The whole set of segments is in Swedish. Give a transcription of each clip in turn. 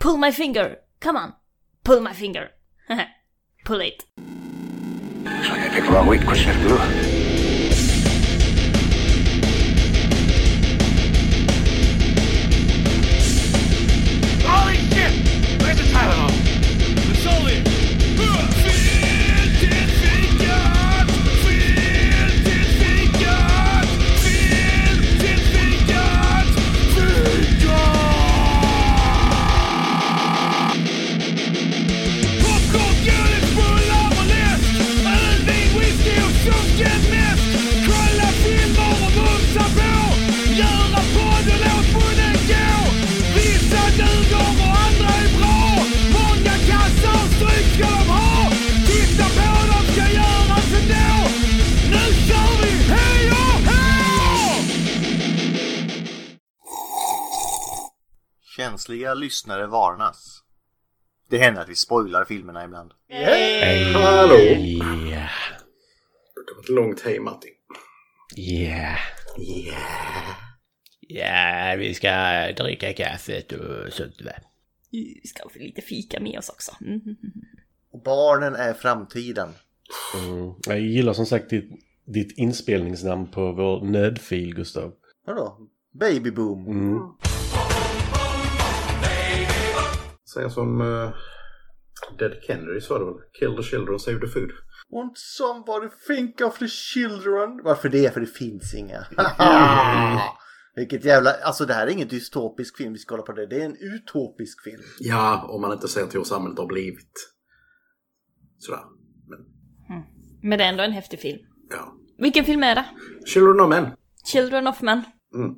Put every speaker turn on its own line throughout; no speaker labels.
Pull my finger! Come on! Pull my finger! Pull it!
It's like I picked the wrong week, Christmas blue.
Holy shit! Where's the Tylenol? It's all in. Göra podden åt munnen gå Vissa duger och andra är bra Många kassar stryk ska de ha Titta på dem ska göras ändå Nu kör vi! Hej och hå!
Känsliga lyssnare varnas. Det händer att vi spoilar filmerna ibland.
Hallå!
Yeah.
Det var ett långt hej Matti.
Yeah. Yeah, vi ska dricka kaffet och sånt va.
Vi ska få lite fika med oss också. Mm.
Och barnen är framtiden.
Mm. Jag gillar som sagt ditt, ditt inspelningsnamn på vår nödfil, Gustav.
Vadå? Babyboom.
Mm.
Säger som eh, Dead Kennedy sa det väl? Kill the children, save the food.
Won't somebody think of the children? Varför det? För det finns inga. Vilket jävla... Alltså det här är ingen dystopisk film vi ska kolla på det. Det är en utopisk film.
Ja, om man inte ser till hur samhället har blivit. Sådär. Men,
Men det är ändå en häftig film.
ja.
Vilken film är det?
Children of Men.
Children of Men.
Mm.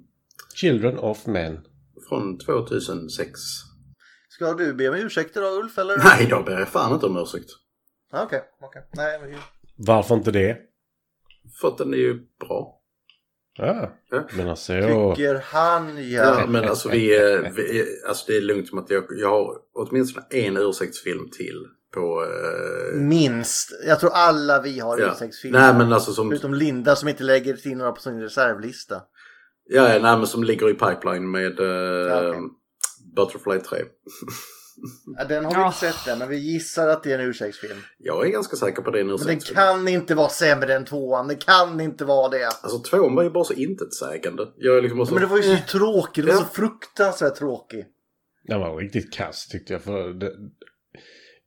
Children of Men.
Från 2006.
Ska du be om ursäkt idag Ulf eller?
Nej, då ber jag fan inte om ursäkt.
Ah, Okej, okej. Nej, men...
Varför inte det?
För att den är ju bra.
Ja,
Ja.
men alltså...
Tycker han
Ja,
ja.
men alltså, vi, eh, vi, eh, alltså det är lugnt med att jag, jag har åtminstone en ursäktsfilm till på... eh,
Minst. Jag tror alla vi har
ja.
ursäktsfilmer.
Nej, men alltså som...
Utom Linda som inte lägger in några på sin reservlista.
Ja, ja, nej, men som ligger i pipeline med eh,
okej.
Butterfly 3.
Ja, den har vi inte sett än, men vi gissar att det är en ursäktsfilm.
Jag är ganska säker på det nu.
Men den kan inte vara sämre än tvåan. Det kan inte vara det.
Alltså tvåan var ju bara så intetsägande. Jag är liksom bara så...
Men det var ju så tråkigt. Det var
Ja.
så fruktansvärt tråkigt.
Den var riktigt kass tyckte jag. För det...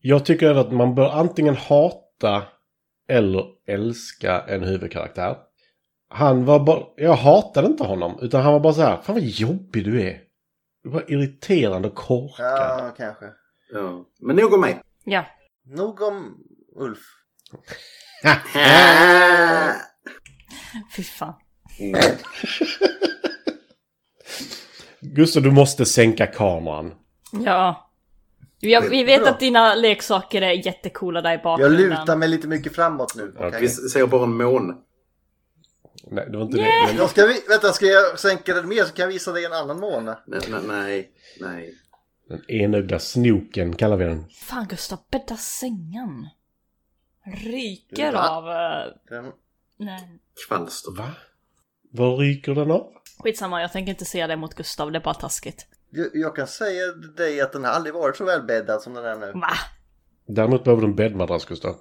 Jag tycker att man bör antingen hata eller älska en huvudkaraktär. Han var bara, jag hatade inte honom, utan han var bara så här, fan vad jobbig du är. Du var irriterande och korkad.
Ja, kanske.
Ja. Men nog om mig.
Ja.
Nog om Ulf.
Fy fan.
Mm.
Mm.
Gustav, du måste sänka kameran.
Ja. Jag, vi vet
Bra.
att dina leksaker är jättecoola där i
Jag
bakgrunden.
lutar mig lite mycket framåt nu.
Okej.
Vi ser bara en mån.
Nej, det var inte det.
Jag ska, vi- vänta, ska jag sänka den mer så kan jag visa dig en annan måne.
Nej, nej, nej. nej.
Den enögda snoken kallar vi den.
Fan Gustav, bädda sängen. Ryker
Va?
av... eh,
Den...
nej.
Kvalster.
Va? Vad ryker den av?
Skitsamma, jag tänker inte säga det mot Gustav, det är bara taskigt.
Jag, jag kan säga dig att den har aldrig varit så välbäddad som den är nu.
Va?
Däremot behöver du en bäddmadrass, Gustav.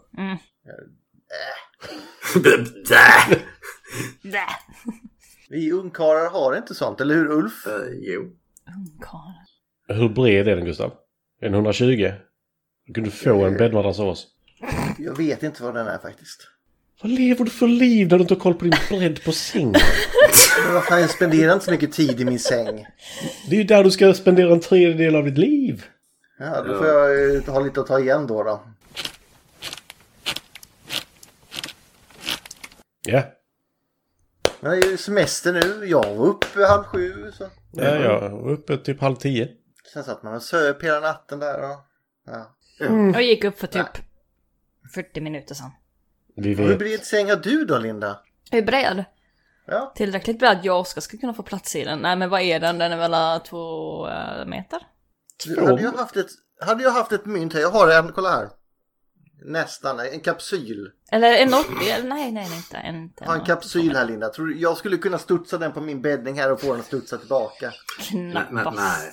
Där!
Dä!
Vi ungkarlar har inte sånt, eller hur Ulf?
Eh, jo.
Ungkarlar.
Hur bred är den, Gustav? En 120? Du kunde få en bäddmadrass av oss.
Jag vet inte vad den är faktiskt.
Vad lever du för liv när du inte har koll på din bredd på sängen?
Men vad fan, jag spenderar inte så mycket tid i min säng.
Det är ju där du ska spendera en tredjedel av ditt liv.
Ja, då får jag eh, ha lite att ta igen då. då.
Ja.
Men det är ju semester nu. Jag var uppe halv sju. Så.
Ja, jag var uppe typ halv tio.
Sen satt man och söp hela natten där. Och, ja. Mm.
Jag gick upp för typ 40 minuter sedan.
Vi
Hur
vet.
bred säng har du då Linda?
Jag är bred.
Ja.
Tillräckligt bred att jag och Oskar ska kunna få plats i den. Nej men vad är den? Den är väl eh, två eh, meter?
Du, hade, jag haft ett, hade jag haft ett mynt här, jag har en, kolla här. Nästan, en kapsyl.
Eller en 80? Nej nej nej inte en. Inte
Jag har en kapsyl här Linda. Tror du, jag skulle kunna studsa den på min bäddning här och få den att studsa tillbaka.
Nej, nej,
Knappast.
nej.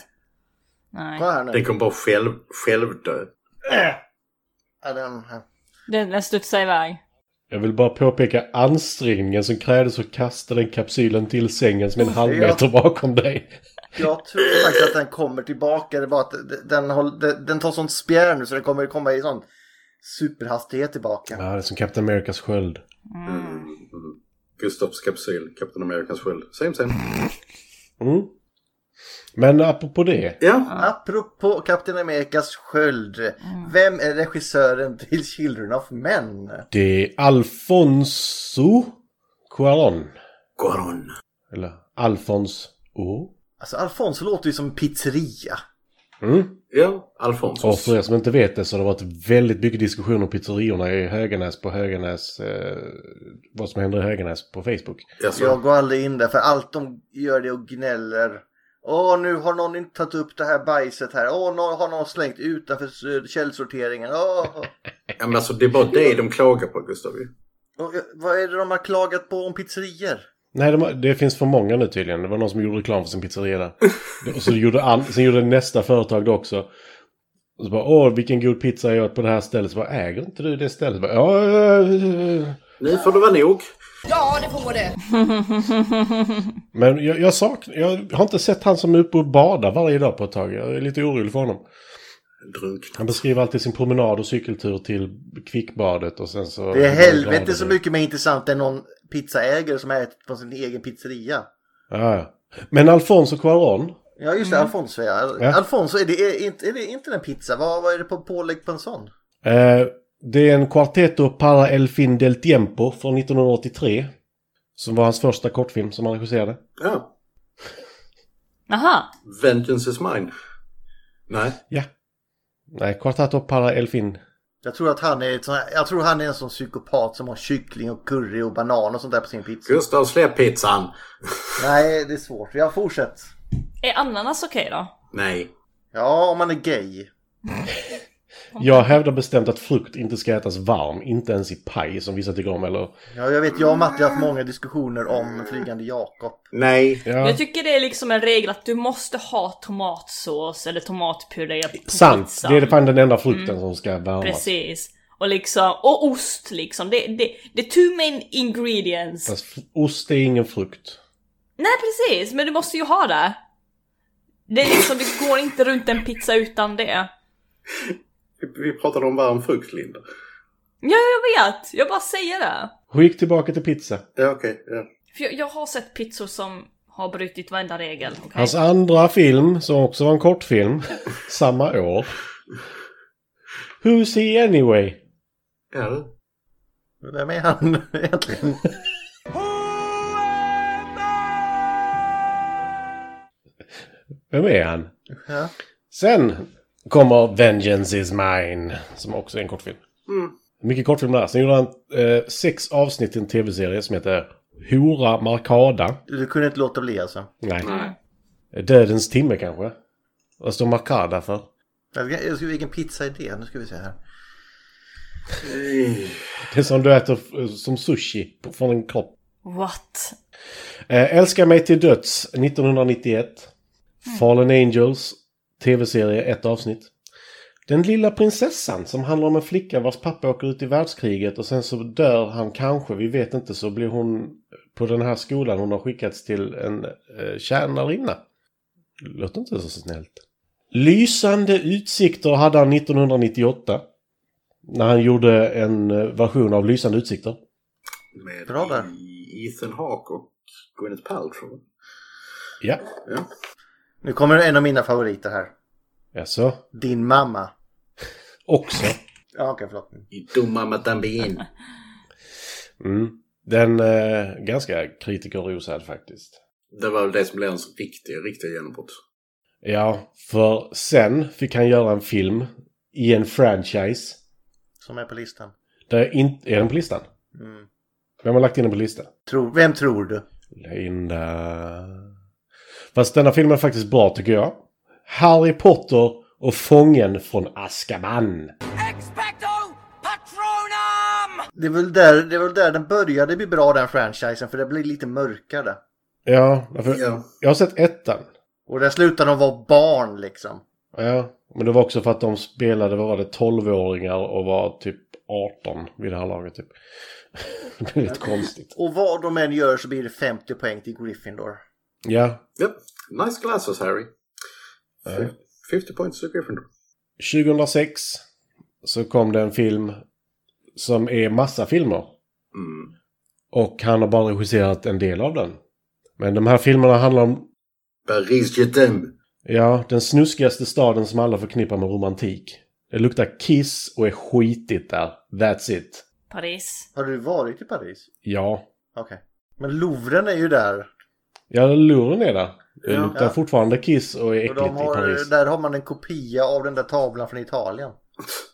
Nej.
Kolla här nu.
Den kommer bara själv, själv dö.
Ja, den här.
Den, den studsar iväg.
Jag vill bara påpeka ansträngningen som krävdes för att kasta den kapsylen till sängen som är en halv
Ja.
meter bakom dig.
Jag tror faktiskt att den kommer tillbaka. Det är bara att d- den, håll- d- den tar sånt spjär nu så den kommer komma i sån superhastighet tillbaka.
Ja, det är som Captain Americas sköld.
Mm. Gustavs kapsyl, Captain Americans sköld. Same same.
Mm. Men apropå det.
Ja,
Apropå Kapten Amerikas sköld. Vem är regissören till Children of Men?
Det är Alfonso Cuarón.
Goron.
Eller Alfons O.
Alltså Alfonso låter ju som en pizzeria.
Mm.
Ja, Alfonso.
Och för er som inte vet det så har det varit väldigt mycket diskussion om pizzeriorna i Höganäs på Höganäs. Eh, vad som händer i Höganäs på Facebook.
Jaså?
Jag går aldrig in där för allt de gör det och gnäller. Åh, nu har någon inte tagit upp det här bajset här. Åh, nu har någon slängt utanför eh, källsorteringen. Åh.
Ja, men alltså det är bara dig de klagar på, Gustav. ju.
Och, eh, vad är det de har klagat på om pizzerior?
Nej, de, har- det finns för många nu tydligen. Det var någon som gjorde reklam för sin pizzeria där. Och så gjorde an, sen gjorde nästa företag det också. Och så bara, åh vilken god pizza jag åt på det här stället. Så bara, äger inte du det stället? Så Bara, ja, ja, ja, ja."
Nu får det vara nog.
Ja, det får det.
Men jag, jag saknar, jag har inte sett han som är uppe och badar varje dag på ett tag. Jag är lite orolig för honom.
Drunkna.
Han beskriver alltid sin promenad och cykeltur till kvickbadet och sen så...
Det är helvete så mycket mer intressant än någon pizzaägare som har ätit på sin egen pizzeria.
Ja, ja. Men Alfonso Cuarón,
Ja just det, Alfonso ja. Al-
Ja.
Alfonso, är det, är, inte, är det inte en pizza? Vad, vad är det på pålägg på en sån?
eh, det är en Quartetto para el fin del tiempo från 1983. Som var hans första kortfilm som han regisserade.
Ja.
Aha.
Vengeance is mine. Nej.
Nej, Quartetto para el fin.
Jag tror att han är, ett sån här, jag tror han är en sån psykopat som har kyckling och curry och banan och sånt där på sin pizza.
Gustav, släpp pizzan!
Nej, det är svårt. Jag fortsätt.
Är ananas okej då?
Nej.
Ja, om man är gay.
Jag hävdar bestämt att frukt inte ska ätas varm, inte ens i paj som vissa tycker om eller...
Ja, jag vet, jag och Matti har haft många diskussioner om Flygande Jakob.
Nej.
Ja,
Jag tycker det är liksom en regel att du måste ha tomatsås eller tomatpuré på
sant!
pizzan.
Det är fan den enda frukten som ska värmas.
Mm. Precis. Och liksom, och ost liksom. Det, det, det är two main ingredients.
Fast f- ost är ingen frukt.
Nej precis, men du måste ju ha det. Det är liksom, det går inte runt en pizza utan det.
Vi- Vi pratade om varm frukt, Linda.
Ja, jag vet! Jag bara säger det.
Skick tillbaka till pizza.
Ja, okej. ja.
För jag, jag har sett pizzor som har brutit varenda regel. okej?
Hans andra film, som också var en kortfilm, samma år. Who's he anyway?
Ja, det.
Vem är han egentligen?
Vem är han?
Ja.
Sen kommer Vengeance is mine, som också är en kortfilm. Mycket kortfilm där. Sen gjorde han eh, sex avsnitt i en tv-serie som heter Hora Marcada.
Du kunde inte låta bli alltså.
Nej. Dödens timme kanske? Vad står Marcada för?
Jag ska, jag ska, vilken pizza är det? Nu ska vi se här.
Det är som du äter eh, som sushi på- från en kropp.
What?
Eh, Älska mig till döds 1991. Fallen Angels. Tv-serie, ett avsnitt. Den lilla prinsessan som handlar om en flicka vars pappa åker ut i världskriget och sen så dör han kanske, vi vet inte, så blir hon på den här skolan hon har skickats till en eh, tjänarinna. Låter inte så snällt. Lysande utsikter hade han 1998. När han gjorde en eh, version av Lysande utsikter.
Med
Bra där.
Ethan Hawke och Gwyneth Paltrow.
Ja,
Ja.
Nu kommer en av mina favoriter här.
alltså.
Din mamma.
Också.
Ja, okej, förlåt.
I dumma Matambien.
Mm. Den eh, ganska kritikerrosad faktiskt.
Det var väl det som blev hans riktiga, riktiga genombrott.
Ja, för sen fick han göra en film i en franchise.
Som är på listan.
Där inte... Är den på listan?
Mm.
Vem har lagt in den på listan?
Tror, vem tror du?
Linda... Fast denna filmen är faktiskt bra tycker jag. Harry Potter och Fången från Azkaban.
Expecto Patronum!
Det är, väl där, det är väl där den började bli bra den franchisen för det blir lite mörkare.
Ja, därför,
Ja.
jag har sett ettan.
Och där slutar de vara barn liksom.
Ja, men det var också för att de spelade, vad var det, 12-åringar och var typ 18 vid det här laget typ. det blir lite konstigt.
Och vad de än gör så blir det 50 poäng till Gryffindor.
Ja,
Yep. Nice glasses, Harry.
Ja.
50 points to Gryffindor.
2006 så kom det en film som är massa filmer.
Mm.
Och han har bara regisserat en del av den. Men de här filmerna handlar om,
Paris, je t'aime.
ja, den snuskigaste staden som alla förknippar med romantik. Det luktar kiss och är skitigt där. That's it.
Paris.
Har du varit i Paris?
Ja.
Okej. Men Louvren är ju där.
Ja, luren är där. Det
Ja.
luktar fortfarande kiss och är
Och
äckligt
de
i
har,
Paris.
där har man en kopia av den där tavlan från Italien.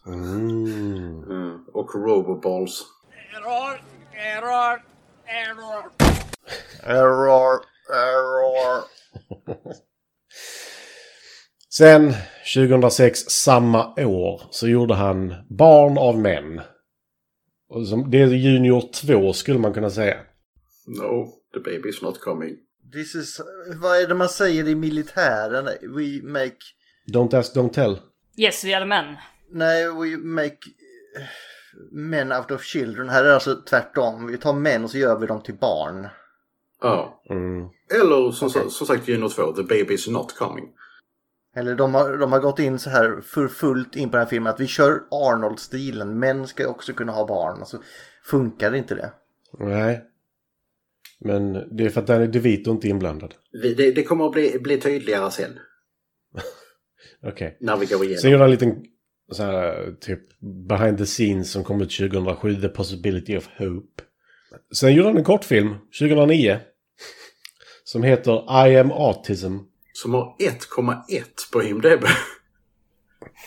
Mm.
Mm. Och Roboballs.
Error, error, error.
Error, error.
Sen 2006, samma år, så gjorde han Barn av män. Och som, det är Junior 2 skulle man kunna säga.
No, the baby's not coming.
This is, vad är det man säger i militären? We make,
Don't ask, don't tell.
Yes, vi är män.
nej, we make eh, men out of children. Här är det alltså tvärtom. Vi tar män och så gör vi dem till barn.
Ja.
Mm.
Eller som, sa- som sagt, Juno 2, the baby's not coming.
Eller de har, de har gått in så här för fullt in på den här filmen att vi kör Arnold-stilen. Män ska också kunna ha barn. Alltså, funkar inte det?
Nej. Men det är för att Danny DeVito inte är inblandad.
Det, det, det kommer att bli, bli tydligare sen.
Okej.
När vi går
Sen
igenom.
gjorde han en liten så här, typ behind the scenes som kom ut 2007, The Possibility of Hope. Sen gjorde han en kortfilm 2009 som heter I am autism.
Som har 1,1 på IMDB.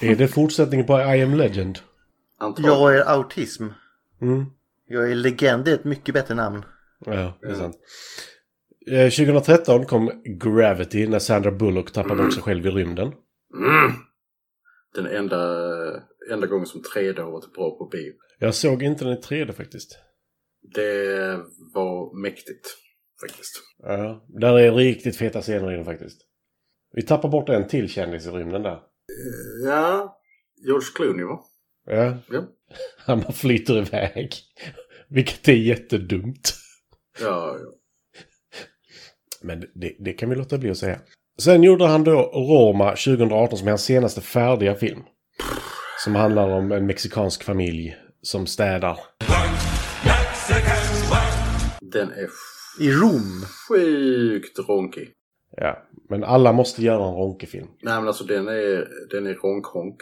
Är det fortsättningen på I am legend?
Antagligen.
Jag är autism.
Mm.
Jag är legend. Det är ett mycket bättre namn.
Ja, det är sant. Eh, 2013 kom Gravity när Sandra Bullock tappade också själv i rymden.
Mm. Den enda, enda gången som 3D har varit bra på bio.
Jag såg inte den i 3D faktiskt.
Det var mäktigt. Faktiskt.
Ja, där är riktigt feta scener i den faktiskt. Vi tappar bort en till kändis i rymden där.
Ja, George Clooney va?
Ja.
Ja.
Han bara flyter iväg. Vilket är jättedumt.
Ja, ja.
Men det, det kan vi låta bli att säga. Sen gjorde han då Roma 2018 som är hans senaste färdiga film. Som handlar om en mexikansk familj som städar.
Den är
I Rom.
sjukt ronkig.
Ja, men alla måste göra en ronkefilm.
Nej men alltså den är, den är ronk-honk.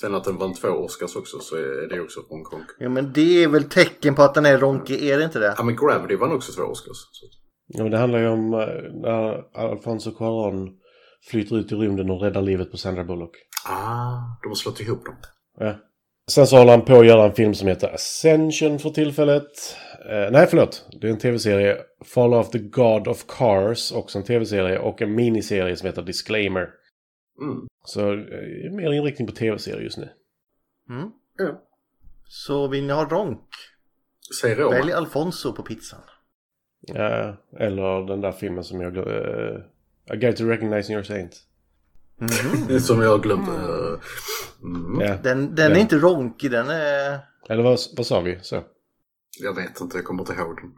Sen att den vann två Oscars också så är det också ronk-honk.
Ja, men det är väl tecken på att den är ronkig, är det inte det?
Ja men Gravity vann också två Oscars. Så.
Ja, men det handlar ju om eh, när Alfonso Cuarón flyter ut i rymden och räddar livet på Sandra Bullock.
Ah, de har slått ihop dem.
Ja. Sen så håller han på att göra en film som heter Ascension för tillfället. Eh, nej, förlåt. Det är en tv-serie. Fall of the God of Cars, också en tv-serie. Och en miniserie som heter Disclaimer.
Mm.
Så eh, mer inriktning på tv-serier just nu.
Mm.
Ja.
Så vill ni ha ronk?
Säg Roma.
Välj Alfonso på pizzan.
Ja, eller den där filmen som jag... Uh, A Guide to Recognizing Your Saint.
Som jag har glömt. eh, Mm.
Ja.
Den, den är
Ja.
inte ronkig, den är...
Eller vad, vad sa vi? Så.
Jag vet inte, jag kommer inte ihåg den.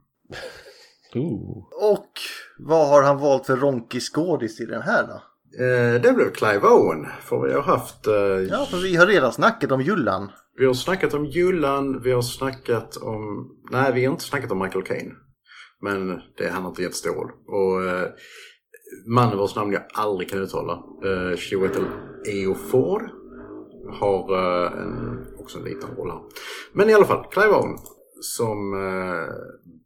Ooh.
Och vad har han valt för ronkig skådis i den här då?
Eh, det blev Clive Owen. För vi har haft... eh,
Ja, för vi har redan snackat om Jullan.
Vi har snackat om Julan, vi har snackat om... Nej, vi har inte snackat om Michael Caine. Men det han har inte gett stål. Och eh, mannen vars namn jag aldrig kan uttala, eh, Chiwetel Ejiofor, har eh, en, också en liten roll här. Men i alla fall, Clive Owen som eh,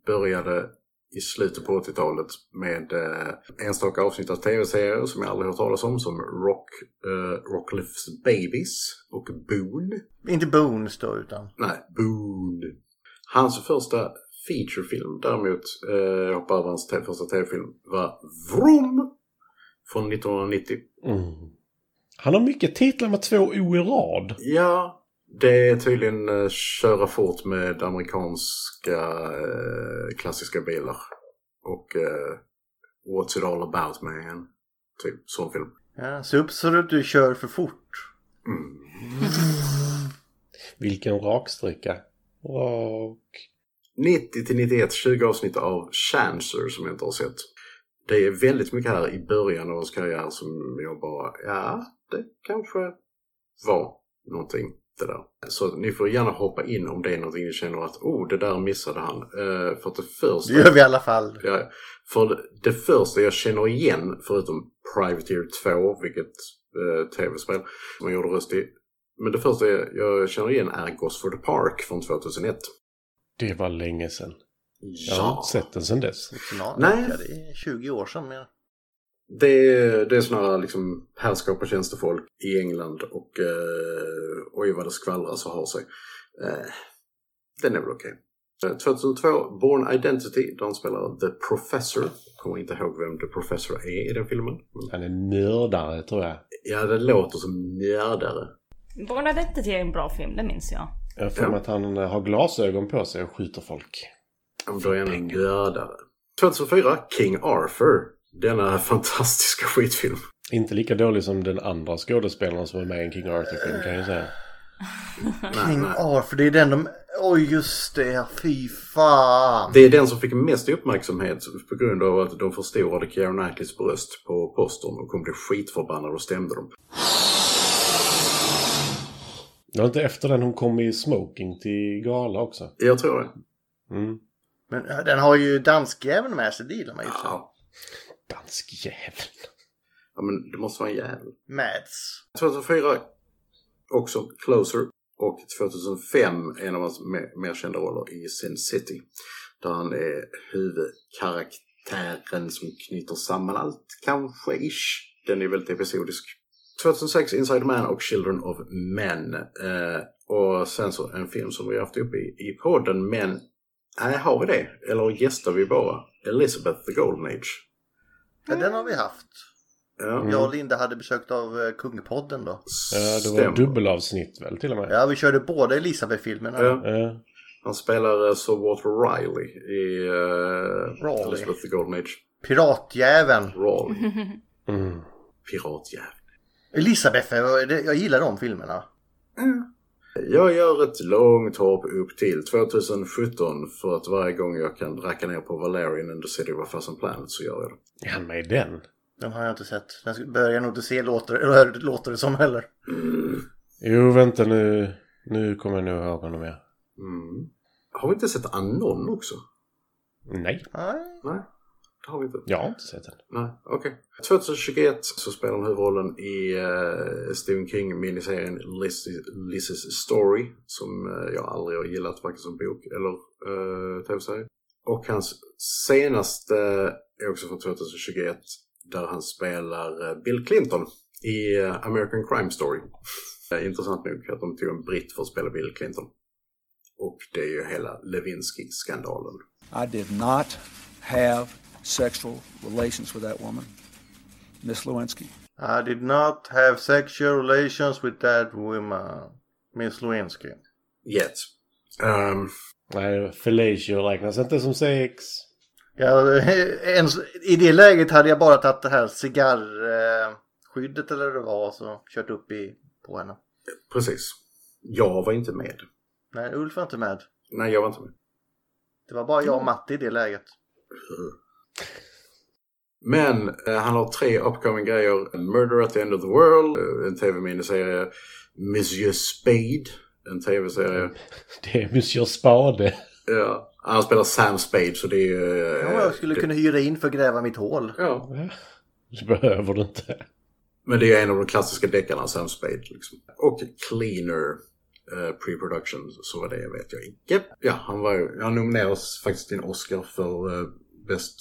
började i slutet på 80-talet med eh, enstaka avsnitt av tv-serier som jag aldrig hört talas om som Rock, eh, Rockliffs Babies och Boone.
Inte Bones då, utan...
Nej, Boone. Hans första featurefilm däremot, eh, jag hoppar över hans te- första tv-film, var Vroom! Från 1990.
Mm. Han har mycket titlar med två O i rad.
Ja, det är tydligen eh, köra fort med amerikanska eh, klassiska bilar. Och eh, What's it all about man? Typ sån film. Mm.
Ja, se upp så du inte kör för fort.
Vilken raksträcka. Rak.
90 till 91, 20 avsnitt av Chancer som jag inte har sett. Det är väldigt mycket här i början av hans karriär som jag bara, ja, det kanske var någonting det där. Så ni får gärna hoppa in om det är någonting ni känner att, oh, det där missade han. Eh, för att det första...
Det gör vi i alla fall.
Ja, för det första jag känner igen, förutom Privateer 2, vilket eh, tv-spel som jag gjorde röst i, men det första jag, jag känner igen är Gosford Park från 2001.
Det var länge sedan. Jag har inte sett den sedan dess.
Snart,
Nej.
Ja, det är 20 år sedan. Men...
Det, det är snarare liksom härskap och tjänstefolk i England och eh, oj vad det skvallras och har sig. Eh, den är väl okej. Eh, 2002, Born Identity, där han spelar The Professor. Kommer inte ihåg vem The Professor är i den filmen. Men,
Han är mördare tror jag.
ja, det låter som mördare.
Born Identity är en bra film, det minns jag.
Jag har för mig att han har glasögon på sig och skjuter folk.
Om då är han en dödare. 2004, King Arthur. Denna fantastiska skitfilm.
Inte lika dålig som den andra skådespelaren som var med i en King Arthur-film kan jag ju säga.
Nej,
King
nej.
Arthur, det är den de... Oj, just det. Fy fan.
Det är den som fick mest uppmärksamhet på grund av att de förstorade Keira Knightleys bröst på postern och kom bli skitförbannade och stämde dem.
Det var inte efter den hon kom i smoking till gala också.
Jag tror det.
Mm.
Men äh, den har ju danskjäveln med sig, det gillar man ju.
Ja.
Dansk jävel.
ja, men det måste vara en jävel.
Mads.
2004 också Closer och 2005 en av hans me- mer kända roller i Sin City. Där han är huvudkaraktären som knyter samman allt, kanske ish. Den är väldigt episodisk. 2006 Inside Man och Children of Men. Eh, och sen så en film som vi har haft uppe i, i podden, men nej, har vi det? Eller gästar vi bara? Elizabeth the Golden Age.
Ja, den har vi haft.
Ja,
Jag och Linda hade besökt av eh, Kungpodden då.
Ja, det var
stämmer.
dubbelavsnitt väl till och med.
Ja, vi körde båda Elisabeth-filmerna.
Ja.
Ja.
Han spelar eh, Sir Walter Riley i uh,
Raleigh.
Elizabeth the Golden Age.
Piratjäveln.
Raleigh.
Mm.
Piratjävel.
Elisabeth, jag jag gillar de filmerna.
Jag gör ett långt hopp upp till 2017 för att varje gång jag kan racka ner på Valerian and the City of a Thousand Planet så gör jag det.
Är han med i den?
De har jag inte sett. Den ska- börjar jag nog inte se låter, eller, låter det som heller.
Jo, vänta nu. Nu kommer jag nog ihåg honom ja.
Mm. Har vi inte sett Anon också?
Nej,
Nej.
Nej, det har vi inte.
jag har inte sett den.
Nej, okej. 2021 så spelar hon huvudrollen i eh, Stephen King-miniserien Liz- Liz's Story som eh, jag aldrig har gillat varken som bok eller eh, tv-serie. Och hans senaste är också från 2021 där han spelar eh, Bill Clinton i eh, American Crime Story. Eh, Intressant nog att de tog en britt för att spela Bill Clinton. Och det är ju hela Lewinsky-skandalen.
I did not have sexual relations with that woman, Miss Lewinsky.
I did not have sexual relations with that woman. Miss Lewinsky.
Yet. Ehm,
Nej, fellatio räknas inte som sex.
Ja, ens, I det läget hade jag bara tagit det här cigarrskyddet eller vad det var och så kört upp i, på henne.
Precis. Jag var inte med.
Nej, Ulf var inte med.
Nej, jag var inte med.
Det var bara jag och Matti i det läget.
Men eh, han har tre upcoming grejer. Murder at the end of the world, eh, en tv-miniserie. Monsieur Spade, en tv-serie.
Det är Monsieur Spade.
Ja, han spelar Sam Spade så det är ju...
Ja,
eh,
jag skulle
det-
kunna hyra in för att gräva mitt hål.
Ja,
Det behöver du inte.
men det är ju en av de klassiska deckarna, Sam Spade. Liksom. Och Cleaner, eh, pre-production, så var det vet jag inte. Ja, han var ju... Han nominerades faktiskt till en Oscar för eh, Best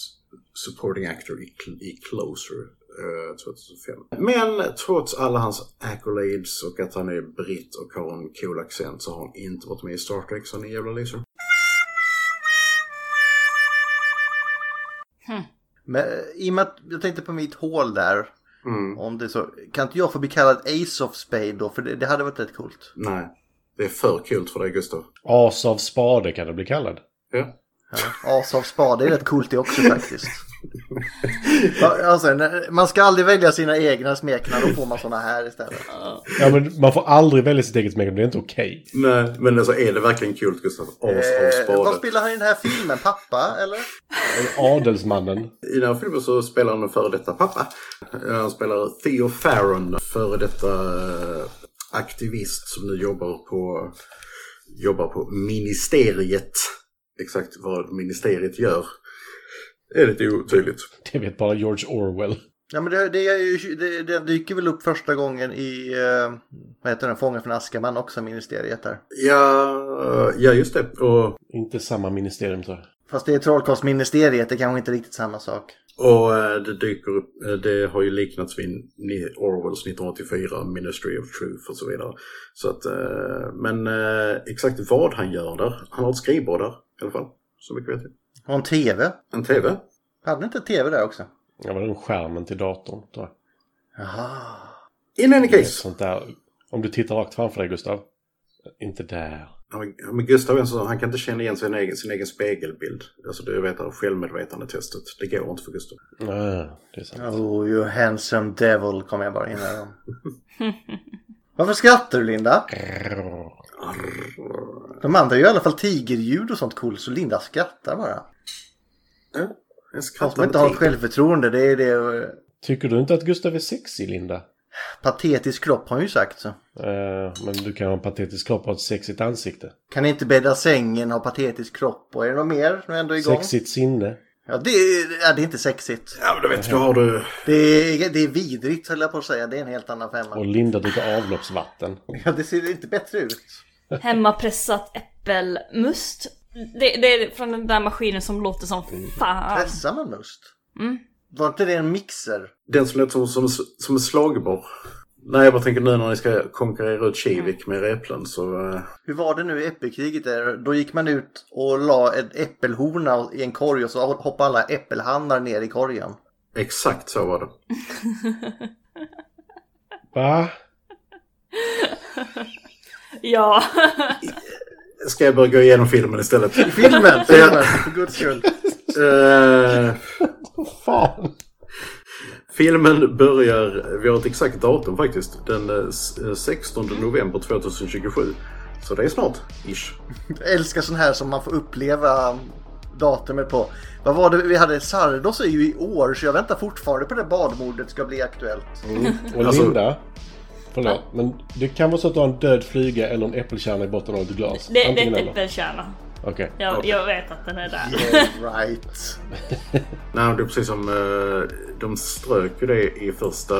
supporting actor i, Cl- i Closer eh, 2005. Men trots alla hans accolades och att han är britt och har en cool accent så har han inte varit med i Star Trek så han är en jävla loser.
Men eh, i och med att jag tänkte på mitt hål där.
Mm.
Om det är så, kan inte jag få bli kallad Ace of Spade då? För det, det hade varit rätt coolt.
Nej, det är för kul för dig Gustav.
As av Spade kan det bli kallad.
Ja.
As av spade är rätt coolt det också faktiskt. Ja, Alltså, när- man ska aldrig välja sina egna smekningar, då får man såna här istället.
Ja, men man får aldrig välja sitt eget smeknamn, det är inte okej.
Nej, men alltså är det verkligen kul Gustav? As av
Eh, vad
spade.
spelar han i den här filmen? Pappa, eller?
Adelsmannen.
I den här filmen så spelar han en före detta pappa. Eh, Han spelar Theo Farron, före detta eh, aktivist som nu jobbar på, jobbar på ministeriet. Exakt vad ministeriet gör är lite otydligt.
Det vet bara George Orwell.
Ja, men det, det, är ju- det, det dyker väl upp första gången i, eh, vad heter den, Fången från Azkaban också, ministeriet där.
Ja, eh, ja just det. Och,
Inte samma ministerium tror jag.
Fast det är trollkarlsministeriet, det kanske inte är riktigt samma sak.
och eh, det dyker upp, eh, det har ju liknats vid ni- Orwells 1984, Ministry of Truth och så vidare. Så att, eh, men eh, exakt vad han gör där, han har ett skrivbord där i alla fall. Så mycket vet jag.
Och en tv.
En TV?
Hade inte tv där också?
Det var den skärmen till datorn tror jag.
Jaha.
In any
Det är ett
case.
Sånt där. Om du tittar rakt framför dig Gustav. Inte där.
Ja, men- ja, Men Gustav är en sån, han kan inte känna igen sin egen, sin egen spegelbild. Alltså du vet det här självmedvetandetestet. Det går inte för Gustav.
Nej, Ah, det är sant.
Oh, you handsome devil, kom jag bara in med dem. Varför skrattar du, Linda? De andra gör i alla fall tigerljud och sånt coolt, så Linda skrattar bara.
Jag
Han
skrattar
som inte har
till.
självförtroende, det är det... eh,
Tycker du inte att Gustav är sexig Linda?
Patetisk kropp har hon ju sagt. Så.
Eh, men du kan ha en patetisk kropp och ett sexigt ansikte.
Kan inte bädda sängen, ha patetisk kropp och är det något mer nu ändå är igång?
Sexigt sinne.
Ja, det, är- ja, det är inte sexigt.
Ja men du vet, då har du...
Det är, det är vidrigt höll jag på att säga, det är en helt annan
Och
femma.
Linda dricker avloppsvatten.
Ja, det ser inte bättre ut.
Hemmapressat äppelmust. Det, det är från den där maskinen som låter som fan.
Pressar man must? Var inte det en mixer?
Den som låter som, som, som en slagborr. Nej jag bara tänker nu när ni ska konkurrera ut Kivik med replen så... eh,
Hur var det nu i äppelkriget? Där? Då gick man ut och la en äppelhorna i en korg och så hoppade alla äppelhannar ner i korgen.
exakt så var det.
Va?
Ja.
Ska jag börja gå igenom filmen istället?
Filmen! filmen för guds skull.
Eh,
Fan!
Filmen börjar, vi har ett exakt datum faktiskt, den eh, s- eh, 16 november 2027. Så det är snart, ish.
Jag älskar sån här som man får uppleva datumet på. Vad var det vi hade? Sardos är ju i år så jag väntar fortfarande på det badmordet ska bli aktuellt.
Och
Alltså-
Linda. Förlåt, men det kan vara så att du har en död flyga eller en äppelkärna i botten av ett glas.
Det, det är
Antingen
ett
eller.
äppelkärna.
Okej.
Jag, jag vet att den är där.
Yeah, right.
Nej, det är precis som eh, de strök ju det i första,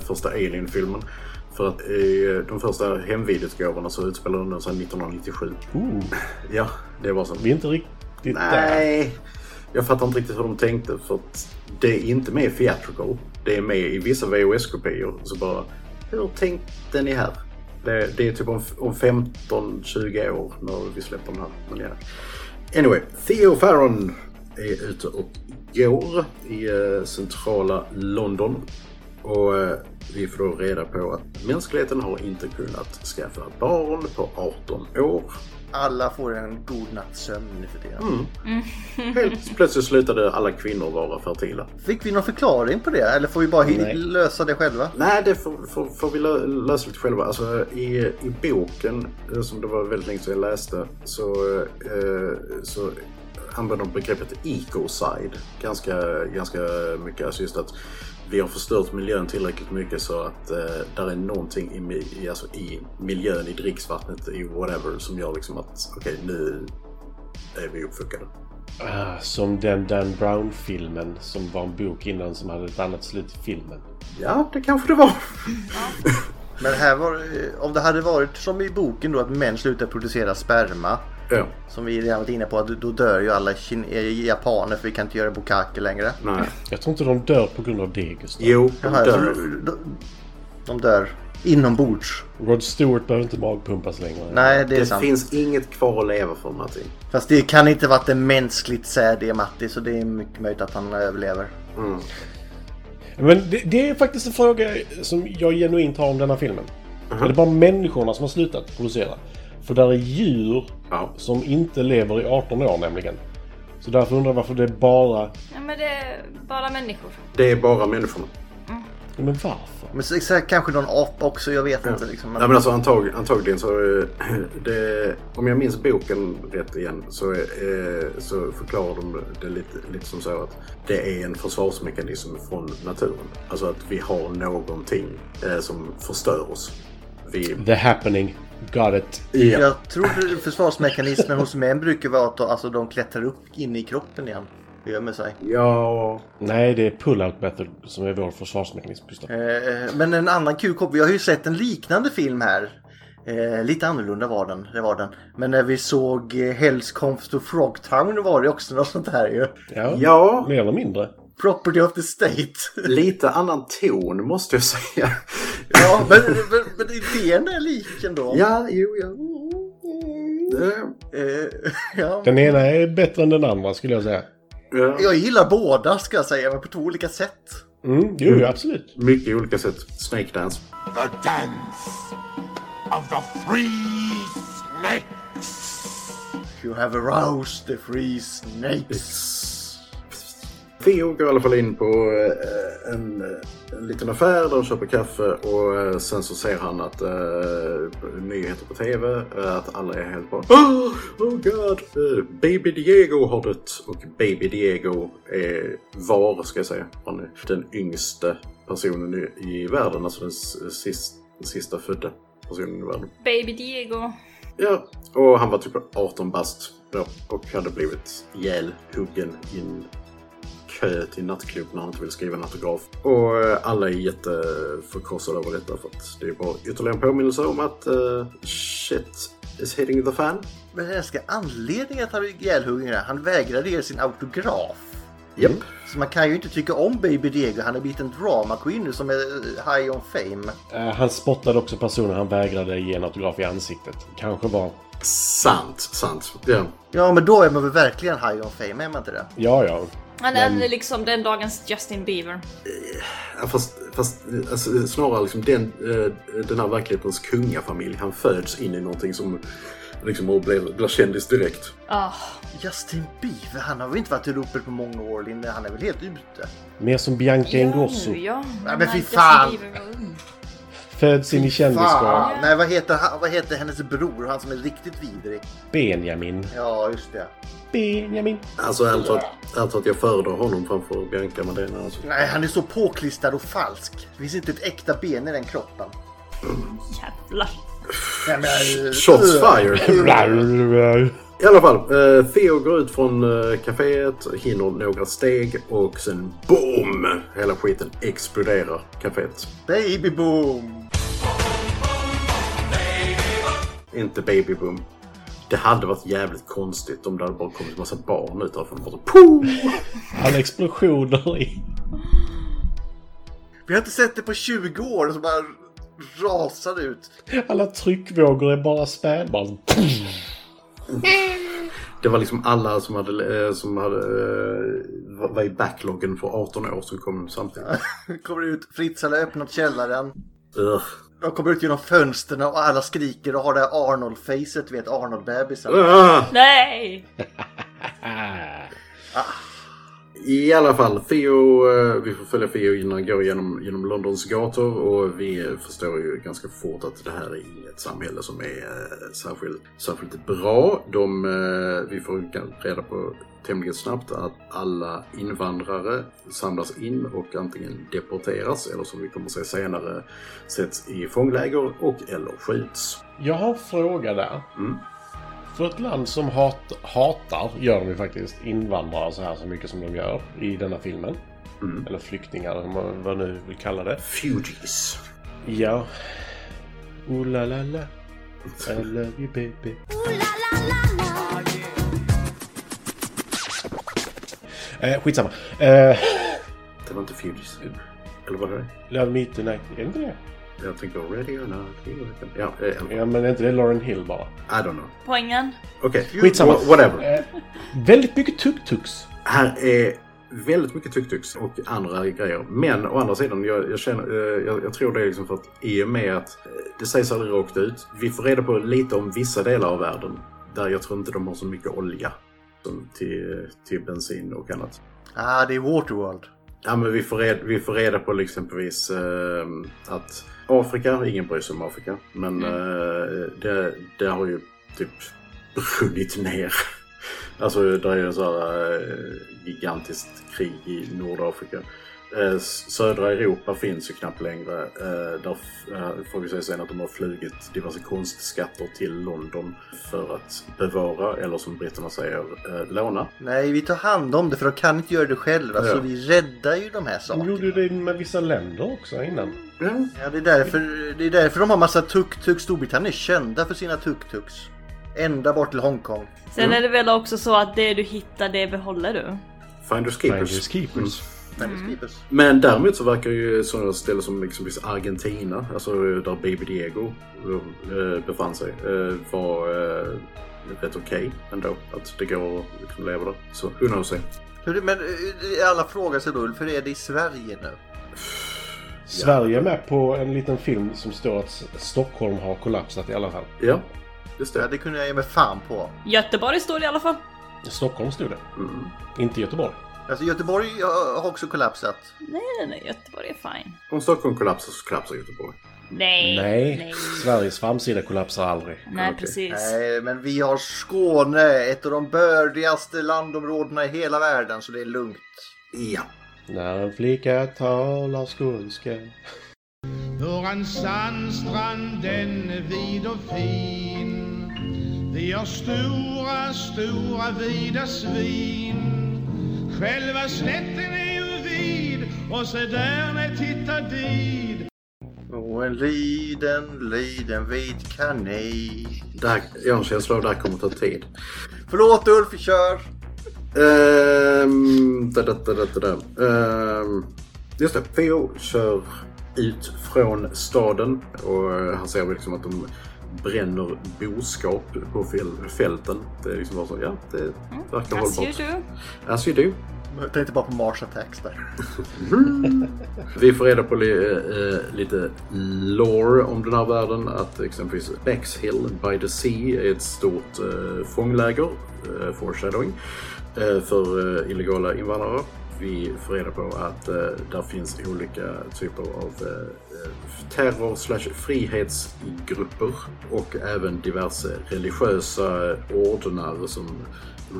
första Alien-filmen. För att i eh, de första hemvideotgåvorna så utspelar den sig 1997.
Ooh,
Ja, det var så.
vi är inte riktigt där.
Nej, jag fattar inte riktigt hur de tänkte för att det är inte med i Theatrical. Det är med i vissa VHS-kopior. Så bara, hur tänkte ni här? Det, det är typ om, om 15-20 år när vi släpper den här. Men ja. Anyway, Theo Farron är ute och går i eh, centrala London. Och eh, vi får då reda på att mänskligheten har inte kunnat skaffa barn på 18 år.
Alla får en god natts sömn nu för tiden.
Helt plötsligt slutade alla kvinnor vara fertila.
Fick vi någon förklaring på det? Eller får vi bara hi-
Nej.
lösa det själva?
Nej, det får, får, får vi lö- lösa lite själva. Alltså, i, I boken, eh, som det var väldigt länge sedan jag läste, så, eh, så använder de begreppet ecocide ganska, ganska mycket. Alltså just att vi har förstört miljön tillräckligt mycket så att eh, där är någonting i, mi- i, alltså, i miljön, i dricksvattnet, i whatever, som gör liksom att okej, nu är vi uppfuckade.
Ah, som den Dan Brown-filmen som var en bok innan som hade ett annat slut i filmen.
Ja, det kanske det var.
Men här var, eh, om det hade varit som i boken då att män slutar producera sperma.
ja.
Som vi redan varit inne på, att då dör ju alla kin- eh, japaner för vi kan inte göra bukkake längre.
Nej.
Jag tror inte de dör på grund av det, Gustav.
Jo, de
De, här,
dör.
de, de dör inombords.
Rod Stewart behöver inte magpumpas längre.
Nej, det är
Det
sant.
finns inget kvar att leva för Martin.
Fast det kan inte varit en mänskligt säd i Matti, så det är mycket möjligt att han överlever.
Men det, det är faktiskt en fråga som jag genuint har om denna filmen. Är det bara människorna som har slutat producera? För där är djur
Ja.
som inte lever i 18 år nämligen. Så därför undrar jag varför det är bara...
Ja, men det är bara människor.
Det är bara människorna.
Ja, Men varför?
Men så, så här, kanske någon apa också, jag vet inte liksom.
Nej, men alltså, antag, antagligen så... eh, Det, om jag minns boken rätt igen så, eh, så förklarar de det lite, lite som så att det är en försvarsmekanism från naturen. Alltså att vi har någonting eh, som förstör oss. Vi...
The happening. Got it.
Ja.
Jag tror försvarsmekanismen hos män brukar vara att de, alltså, de klättrar upp in i kroppen igen. Gömmer sig.
ja.
Nej, det är pull-out method som är vår försvarsmekanism. Gustav.
Eh, men en annan kul koppling. Jag har ju sett en liknande film här. Eh, lite annorlunda var den, det var den. Men när vi såg eh, Hells Comes to Frogtown var det också något sånt här ju.
Ja.
Ja.
Mer eller mindre.
Property of the State.
Lite annan ton måste jag säga.
Ja, men, men, men idén är lik ändå.
ja, jo, ja. Eh,
Eh, ja.
Den ena är bättre än den andra skulle jag säga.
ja.
Jag gillar båda ska jag säga, men på två olika sätt.
Mm, jo,
Mm.
absolut.
Mycket olika sätt. Snake dance.
The dance of the free snakes.
You have aroused the free snakes.
Theo går i alla fall in på eh, en, en liten affär där de köper kaffe och eh, sen så ser han att eh, nyheter på TV eh, att alla är helt bara oh, oh god! Eh, Baby Diego har dött och Baby Diego är var, ska jag säga, han är den yngste personen i, i världen, alltså den s- sist, sista födda personen i världen.
Baby Diego.
Ja, och han var typ 18 bast då och hade blivit ihjälhuggen i en kö till nattklubb när han inte ville skriva en autograf. Och eh, alla är jätteförkrossade över detta för att det är bara ytterligare en påminnelse om att eh, shit is hitting the fan.
Men jag älskar anledningen att han blev ihjälhuggen är att Han vägrade ge sin autograf.
Japp.
Så man kan ju inte tycka om Baby Diego. Han har blivit en drama queen nu som är eh, high on fame.
Eh, han spottade också personer han vägrade ge en autograf i ansiktet. Kanske var...
Sant, sant. Ja.
Ja, men då är man väl verkligen high on fame, är man inte det?
Ja, ja.
Han är liksom den dagens Justin Bieber.
Ja, Fast, fast eh, alltså, snarare liksom den, eh, den här verklighetens kungafamilj. Han föds in i någonting som liksom och blir, blir kändis direkt.
Ah,
Justin Bieber, han har väl inte varit i ropet på många år, Linne. Han är väl helt ute?
Mer som Bianca Ingrosso.
nu ja.
men
när
fy
Justin
fan.
Bieber var ung.
Föds in i kändiskap.
Fan! Ah, Nej, vad heter, han- vad heter hennes bror? Han som är riktigt vidrig.
Benjamin.
Ja, just det.
Benjamin.
Alltså ärligt talat- ärligt talat, jag föredrar honom framför Bianca alltså. men det är en annan sak.
Nej, han är så påklistrad och falsk. Det finns inte ett äkta ben i den kroppen.
Jävlar.
Nej, men, eh,
Shots
eh,
fired! I alla fall, eh, Theo går ut från eh, kaféet, hinner några steg och sen BOOM! Hela skiten exploderar kaféet.
Baby boom!
Inte baby boom. Det hade varit jävligt konstigt om det hade bara kommit massa barn ut därifrån. Bara så, "Pooh!"
Han explosioner i...
Vi har inte sett det på 20 år och så bara rasar ut.
Alla tryckvågor är bara spädbarn.
Det var liksom alla som hade, eh, som hade eh, var- var i backloggen för 18 år som kom samtidigt.
Kommer ut, Fritz har öppnat källaren.
Ugh.
De kommer ut genom fönstren och alla skriker och har det här Arnold-facet, du vet Arnold-bebisen.
Ah!
Nej!
Ah.
I alla fall, Theo, eh, vi får följa Theo innan han går genom, genom Londons gator och vi eh, förstår ju ganska fort att det här är inget samhälle som är eh, särskilt, särskilt bra. De, eh, vi får gan- reda på tämligen snabbt att alla invandrare samlas in och antingen deporteras eller som vi kommer att se senare sätts i fångläger och eller skjuts.
Jag har en fråga där.
Mm.
För ett land som hat, hatar, gör de ju faktiskt, invandrare så här så mycket som de gör i denna filmen.
Mm.
Eller flyktingar, eller vad man nu vill kalla det.
Fugees.
Ja. Oh la la la. I love you baby. Eh, skitsamma. Eh,
Det var inte Fugees. Eller var det det?
love me tonight. Är det inte det?
Jag tänker Ready or not. Ja, eh, i alla fall.
Ja, men är inte det Lauren Hill bara?
I don't know.
Poängen.
Okej,
Skitsamma.
wha- Whatever.
Eh, väldigt mycket tuk-tuks.
Här är väldigt mycket tuk-tuks och andra grejer. Men å andra sidan, jag, jag, känner, eh, jag, jag tror det är liksom för att i och med att eh, det sägs aldrig rakt ut. Vi får reda på lite om vissa delar av världen där jag tror inte de har så mycket olja. vatten till, till bensin och annat.
Ah, det är Waterworld.
Ja, men vi, får reda, vi får reda på liksom exempelvis eh, att Afrika, ingen bryr sig om Afrika, men eh, det, det har ju typ brunnit ner. Alltså det är ju en sån här eh, gigantiskt krig i Nordafrika. Eh, s- södra Europa finns ju knappt längre. Eh, där f- eh, får vi säga sen att de har flugit diverse konstskatter till London för att bevara, eller som britterna säger, eh, låna.
Nej, vi tar hand om det för de kan inte göra det själva.
Ja.
Så vi räddar ju de här
De
sakerna.
gjorde ju det med vissa länder också innan.
Ja,
Ja, det, är därför, det är därför de har massa tuk-tuks. Storbritannien är kända för sina tuk-tuks. Ända bort till Hongkong.
Sen är det väl också så att det du hittar, det behåller du.
Finders keepers.
Finders Keepers.
Men det skrivs.
Men däremot så verkar ju sådana ställen som exempelvis Argentina, alltså där Baby Diego eh, befann sig, eh, var eh, rätt okej ändå. Att det går att liksom leva där. Så who knows? eh.
Hur- Men eh, alla frågar sig då, hur är det i Sverige nu?
Sverige är med på en liten film som står att S- Stockholm har kollapsat i alla fall.
Ja, just
Ja,
det.
det kunde jag ge mig fan på.
Göteborg står det i alla fall.
Stockholm stod det.
Mm.
Inte Göteborg.
Alltså Göteborg eh, har också kollapsat.
Nej, nej, nej, Göteborg är fine.
Om Stockholm kollapsar så kollapsar Göteborg.
Nej,
Nej, Sveriges framsida kollapsar aldrig.
Nej, precis.
Nej, men vi har Skåne, ett av de bördigaste landområdena i hela världen, så det är lugnt.
Ja.
När en flicka talar skånska.
Hör en sandstrand, den är vid och fin. Vi har stora, stora vida svin. Själva slätten är ju vid och se där när titta dit.
Och en liten, liten vit kanin.
Det här, jag har en känsla av att det här kommer ta tid.
Förlåt Ulf, vi kör!
Ehm, da, da, da, da, da, da. Ehm, just det, Theo kör ut från staden och eh, han ser väl liksom att de bränner boskap på fäl- fälten. Det är liksom bara så, ja, det verkar
As you
hållbart.
do.
As you do.
Jag tänkte bara på Mars Attacks där.
Vi får reda på li, eh, lite lore om den här världen. Att exempelvis Bexhill by the Sea är ett stort eh, fångläger, eh, foreshadowing, eh, för eh, illegala invandrare. Vi får reda på att eh, där finns olika typer av eh, eh, terror slash frihetsgrupper och även diverse religiösa ordnar som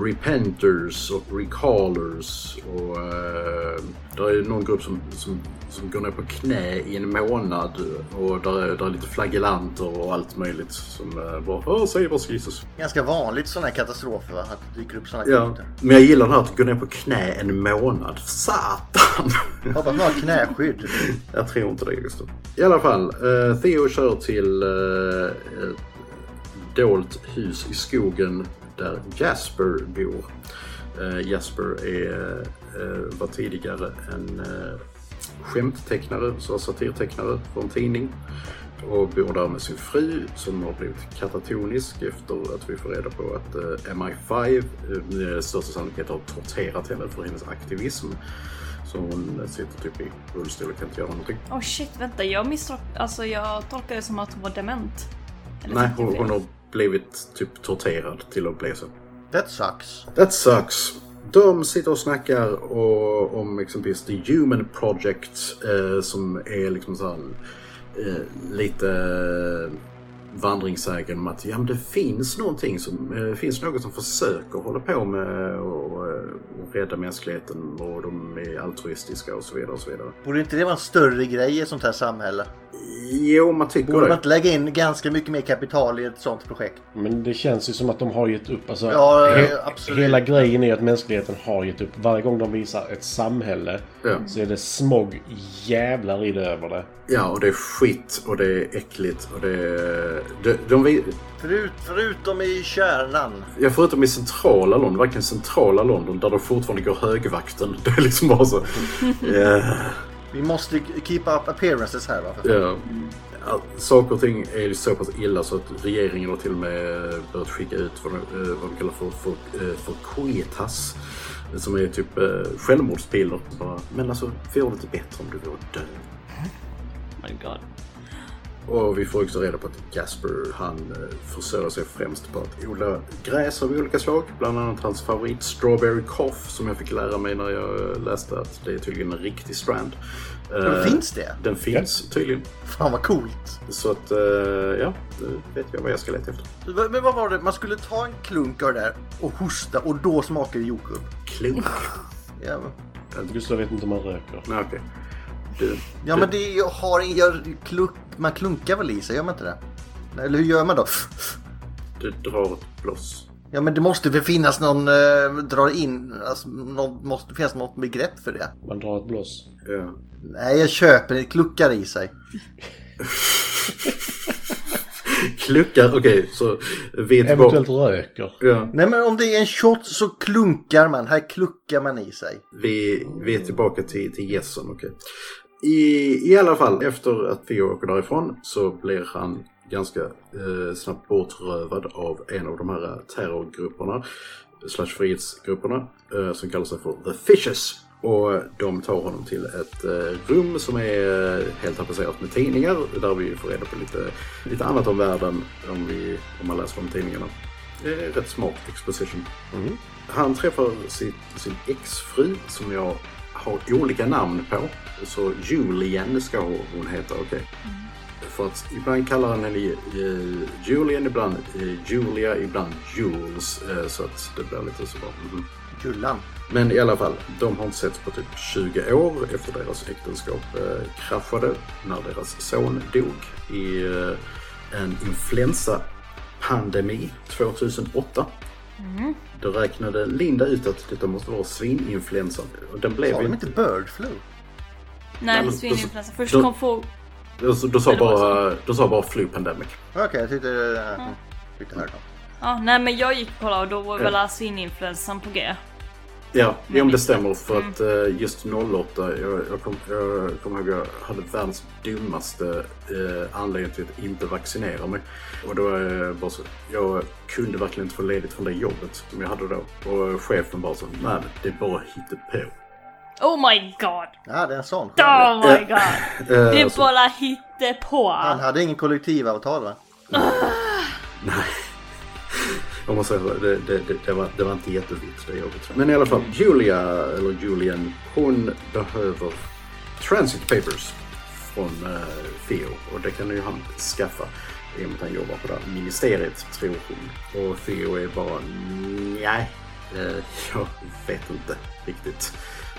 repenters och recallers. Och, eh, där är någon grupp som, som, som går ner på knä i en månad och där, är- där är lite flagellanter och allt möjligt som eh, bara "Åh, säg oss Jesus.
Ganska vanligt sådana här katastrofer va? Att det dyker upp sådana
Ja.
kulter.
Men jag gillar det här att gå ner på knä en månad. Satan!
Hoppas man har knäskydd.
Jag tror inte det just då. I alla fall, eh, Theo kör till eh, ett dolt hus i skogen där Jasper bor. Eh, Jasper är, eh, var tidigare en eh, skämttecknare, så satirtecknare på en tidning. Och bor där med sin fru som har blivit katatonisk efter att vi får reda på att eh, MI5 eh, med största sannolikhet har torterat henne för hennes aktivism. Så hon sitter typ i rullstol och kan inte göra någonting.
Oh shit, vänta. Jag misstolkade... Alltså jag tolkade det som att hon var dement. Eller
Nej,
tyckte
hon,
fel.
hon har blivit typ torterad till att bli så.
That sucks.
That sucks. De sitter och snackar och, om exempelvis The Human Project eh, som är liksom så här, eh, lite eh, vandringssägen om att ja, men det finns någonting som eh, finns något som försöker hålla på med och, och, och rädda mänskligheten och de är altruistiska och så vidare och så vidare.
Borde inte det vara en större grej i ett sånt här samhälle?
Jo, man tycker
Borde man
det.
inte lägga in ganska mycket mer kapital i ett sånt projekt?
Men det känns ju som att de har gett upp. Alltså,
Ja,
he-
absolut.
Hela grejen är att mänskligheten har gett upp. Varje gång de visar ett samhälle
Ja.
så är det smog jävlar i det över det.
Ja, och det är skit och det är äckligt och det är... De, de, vi-
Förut, förutom i kärnan.
ja, förutom i centrala London, verkligen centrala London, där de fortfarande går högvakten. Det är liksom bara så... Ja,
Vi måste keep up appearances här va? för fan.
ja. Ja, Saker och ting är ju så pass illa så att regeringen har till och med börjat skicka ut vad de, eh, vad de kallar för, för, eh, för koetas. Som är typ eh, självmordspiller. Bara, Men alltså, vore det inte bättre om du vore död?
Oh my god.
Och vi får också reda på att Casper, han eh, försörjer sig främst på att odla gräs av olika slag. Bland annat hans favorit Strawberry Cough som jag fick lära mig när jag eh, läste att det är tydligen en riktig strand. Eh,
finns det?
Den finns tydligen.
Fan vad coolt.
Så att, eh, ja, nu vet jag vad jag ska leta efter.
Va- Men vad var det? Man skulle ta en klunk av det där och hosta och då smakar det jordgubb.
Klok.
Ja, men-
Gustav vet inte om han röker.
Nej, okej. Du,
ja men det är- jag har en- jag, klunk, man klunkar väl i sig, gör man inte det? Eller hur gör man då?
du drar ett blås.
Ja men det måste väl finnas någon, eh, dra in, alltså, någon, måste finnas något begrepp för det.
Man drar ett blås.
Ja.
Nej jag köper det, kluckar i sig.
Kluckar, okej, så vi är
Eventuellt
tillbaka.
röker.
Ja,
Nej men om det är en shot så klunkar man, här kluckar man i sig.
vi, vi är tillbaka till, till gässen, okej. I, I alla fall, efter att Theo åker därifrån så blir han ganska eh, snabbt bortrövad av en av de här eh, terrorgrupperna, slash frihetsgrupperna, eh, som kallar sig för The Fishes. Och de tar honom till ett eh, rum som är eh, helt tapetserat med tidningar, där vi får reda på lite, lite annat om världen om, vi, om man läser de tidningarna. Det är rätt smart exposition. Han träffar sitt, sin exfru som jag har olika namn på. Så Julian ska hon heta, okej. För att ibland kallar han henne eh, Julian, ibland eh, Julia, ibland Jules. Eh, så att det blir lite så bara... mhm.
Jullan.
Men i alla fall, de har inte setts på typ 20 år efter deras äktenskap eh, kraschade när deras son dog i eh, en influensapandemi 2008. Då räknade Linda ut att detta måste vara svininfluensan. Och den blev
Har de
ju-
inte bird flu?
Nej,
Nej,
men-
svininfluensa. Först
då-
kom få...
Alltså, de, sa
Eller vad
bara, de sa bara flu pandemic.
Okej, jag tyckte... Mm. tyckte jag hörde något.
Ja, nej men jag gick och kollade och då var
Ja.
väl svininfluensan på G.
Ja, jo, men det stämmer. För att eh, just 08, jag, jag kommer jag kom ihåg jag hade världens dummaste eh, anledning till att inte vaccinera mig. Och då eh, bara så, jag kunde verkligen inte få ledigt från det jobbet som jag hade då. Och chefen bara så, nej men det är bara hittepå.
Oh my god!
Ja, det är en sån. skärm.
Oh my god!
Eh,
Det är
alltså,
bara hittepå!
Han hade ingen kollektivavtal va?
Nej. Om man säger så, det, det, det, det, var, det var inte jättevitt det jobbet. Men i alla fall, Julia, eller Julian, hon behöver transit papers från eh, Theo. Och det kan ju han skaffa i och med att han jobbar på det här ministeriet, tror hon. Och Theo är bara, nej, eh, jag vet inte riktigt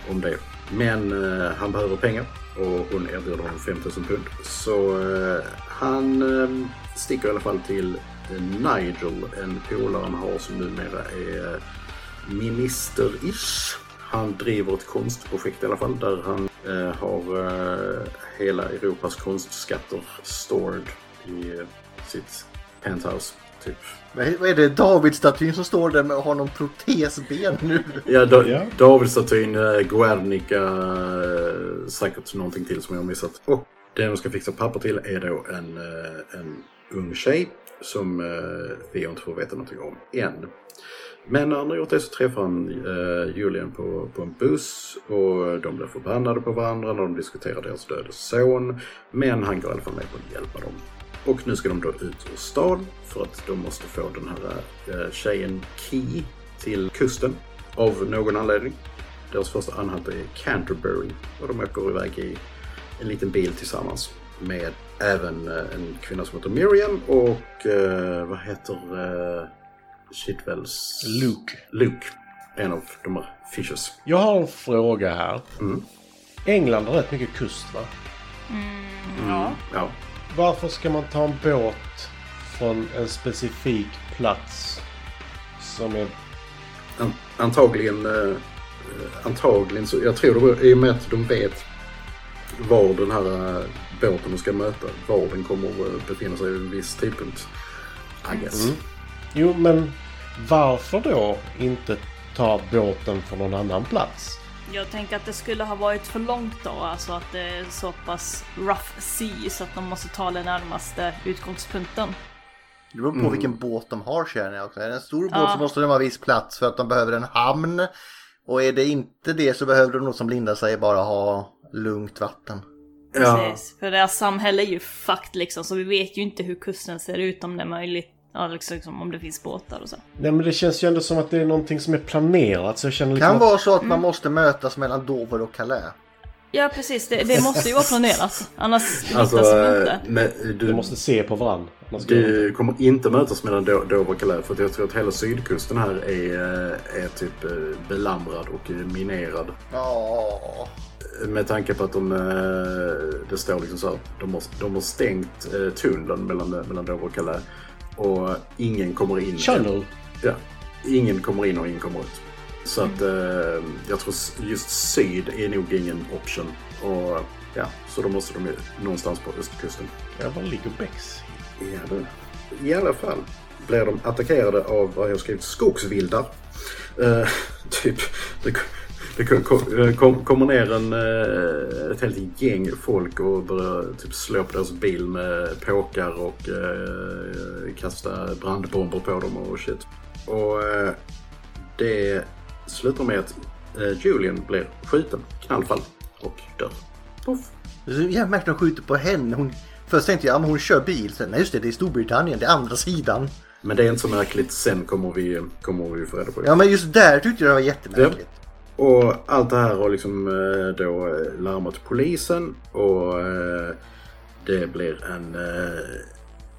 om det. Men eh, han behöver pengar och hon erbjuder honom 5000 pund. Så eh, han eh, sticker i alla fall till eh, Nigel, en polare han har som numera är minister-ish. Han driver ett konstprojekt i alla fall där han eh, har eh, hela Europas konstskatter stored i eh, sitt penthouse. Typ.
Men Vad är det? Davidstatyn som står där med har någon protesben nu?
Ja, da-
Ja.
Davidstatyn, eh, Guernica, eh, säkert någonting till som jag har missat. Och det de ska fixa papper till är då en, eh, en ung tjej som eh, vi inte får veta någonting om än. Men när han har gjort det så träffar han eh, Julian på, på en buss och de blir förbannade på varandra när de diskuterar deras döde son. Men han går i alla fall med på att hjälpa dem. Och nu ska de då ut ur stan för att de måste få den här eh, tjejen Key till kusten av någon anledning. Deras första anhalt är Canterbury och de åker iväg i en liten bil tillsammans med även eh, en kvinna som heter Miriam och eh, vad heter eh, Chitwells...
Luke.
Luke. En av de här Fishes.
Jag har en fråga här.
Mm.
England har rätt mycket kust va?
Ja.
Ja.
Varför ska man ta en båt från en specifik plats som är...
An- antagligen, eh, eh, antagligen så, jag tror det var, i och med att de vet var den här eh, båten de ska möta, var den kommer att befinna sig vid en viss tidpunkt. I guess.
Jo, men varför då inte ta båten från någon annan plats?
Jag tänker att det skulle ha varit för långt då, alltså att det är så pass rough sea så att de måste ta den närmaste utgångspunkten.
Det beror på vilken båt de har känner jag också. Är det en stor båt så måste de ha viss plats för att de behöver en hamn. Och är det inte det så behöver de nog som Linda säger bara ha lugnt vatten.
Ja,
Precis. För deras samhälle är ju fucked liksom, så vi vet ju inte hur kusten ser ut om det är möjligt. Ja, liksom, liksom, om det finns båtar och så.
Nej men det känns ju ändå som att det är någonting som är planerat så jag känner liksom
Kan
att...
vara så att man måste mötas mellan Dover och Calais.
Ja precis, det, det måste ju vara planerat. Annars
alltså,
hittas de inte.
eh, men du,
Vi måste se på varandra. Annars går det inte.
du kommer inte mötas mellan Do- Dover och Calais för att jag tror att hela sydkusten här är, eh, är typ eh, belamrad och eh, minerad.
Ja.
Med tanke på att de, eh, det står liksom så här, de har, de har stängt eh, tunneln mellan, mellan Dover och Calais. Och ingen kommer in.
Channel.
Ja. Ingen kommer in och ingen kommer ut. Så att eh, jag tror s- just syd är nog ingen option. Och ja, så då måste de ju någonstans på östkusten.
Ja, var ligger Bex?
Ja, du. I alla fall blir de attackerade av vad jag har skrivit skogsvildar. Eh, typ, det, det kom, kom, eh, kom, kommer ner en, eh, ett helt gäng folk och börjar typ slå på deras bil med påkar och eh, kasta brandbomber på dem och shit. Och eh, det slutar med att eh, Julian blir skjuten, knallfall, och dör. Poff.
Så Jag märkte att de skjuter på henne. Hon... Först tänkte jag att hon kör bil. Sen, nej just det, det är Storbritannien. Det är andra sidan.
Men det är inte så märkligt, sen kommer vi, kommer vi få reda på det.
Ja men just där tyckte jag det var jättemärkligt.
Och allt det här har liksom eh, då eh, larmat polisen och eh, det blir en eh,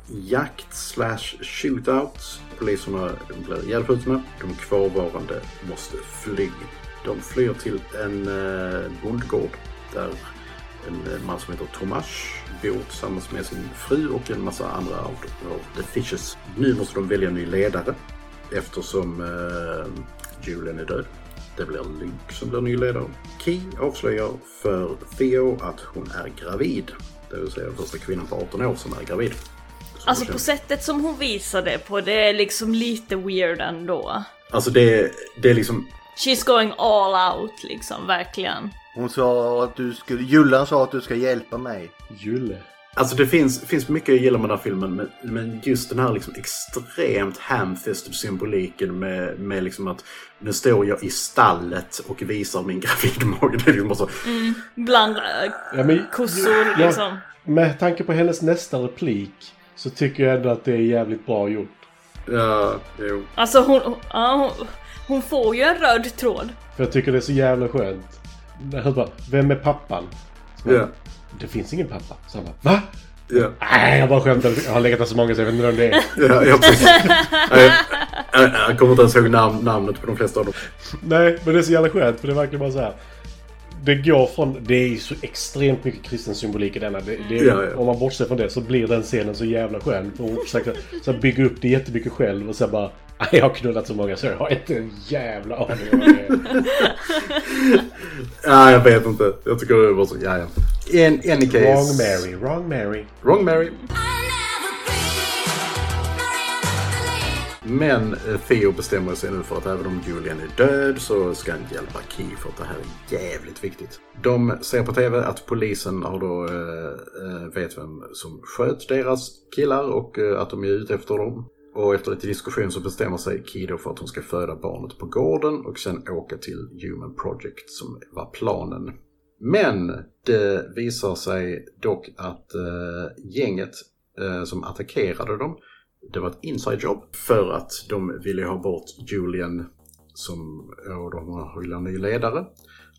jakt slash shootout. Poliserna blir ihjälskjutna. De kvarvarande måste fly. De flyr till en eh, bondgård där en eh, man som heter Tomas bor tillsammans med sin fru och en massa andra av av The Fishes. Nu måste de välja en ny ledare eftersom eh, Julian är död. Det blir Luke som blir ny ledare. Key avslöjar för Theo att hon är gravid. Det vill säga första kvinnan på 18 år som är gravid. Så
Alltså
det-
på sättet som hon visar det på, det är liksom lite weird ändå.
Alltså det, det är liksom...
She's going all out liksom, verkligen.
Hon sa att du skulle... Jullan sa att du ska hjälpa mig.
Julle.
Alltså det finns, finns mycket jag gillar med den här filmen men, men just den här liksom extremt hamfisted symboliken med, med liksom att nu står jag i stallet och visar min gravidmage. Det är liksom bara så...
Bland äh,
Ja, men,
kossor
Ja,
liksom.
med tanke på hennes nästa replik så tycker jag ändå att det är jävligt bra gjort.
Ja, jo.
Alltså hon, hon, ja, hon, hon får ju en röd tråd.
För jag tycker det är så jävla skönt. Jag hör bara, vem är pappan? Så bara,
Ja,
Det finns ingen pappa. Så han bara, va?
ja.
Nej, jag bara skämtar. Jag har legat där så många så jag vet inte vem det är.
Ja, ja, precis. Nej, jag, jag kommer inte ens ihåg namn, namnet på de flesta av dem.
Nej, men det är så jävla skönt för det är verkligen bara så här. Det går från... Det är ju så extremt mycket kristen symbolik i denna. Det, det,
Ja, ja.
Om man bortser från det så blir den scenen så jävla skön. För hon försöker så här, bygga upp det jättemycket själv och sen bara... "Nej, Jag har knullat så många så jag har inte en jävla aning om vad det är.
Ja, jag vet inte. Jag tycker det var så... Ja, ja. In, any case.
Wrong Mary, wrong Mary.
Wrong Mary. Men eh, Theo bestämmer sig nu för att även om Julian är död så ska han hjälpa Key för att det här är jävligt viktigt. De ser på TV att polisen har då eh, eh, vet vem som sköt deras killar och eh, att de är ute efter dem. Och efter lite diskussion så bestämmer sig Key då för att hon ska föda barnet på gården och sen åka till Human Project som var planen. Men det visar sig dock att eh, gänget eh, som attackerade dem, det var ett inside job för att de ville ha bort Julian som, och de ville ha en ny ledare.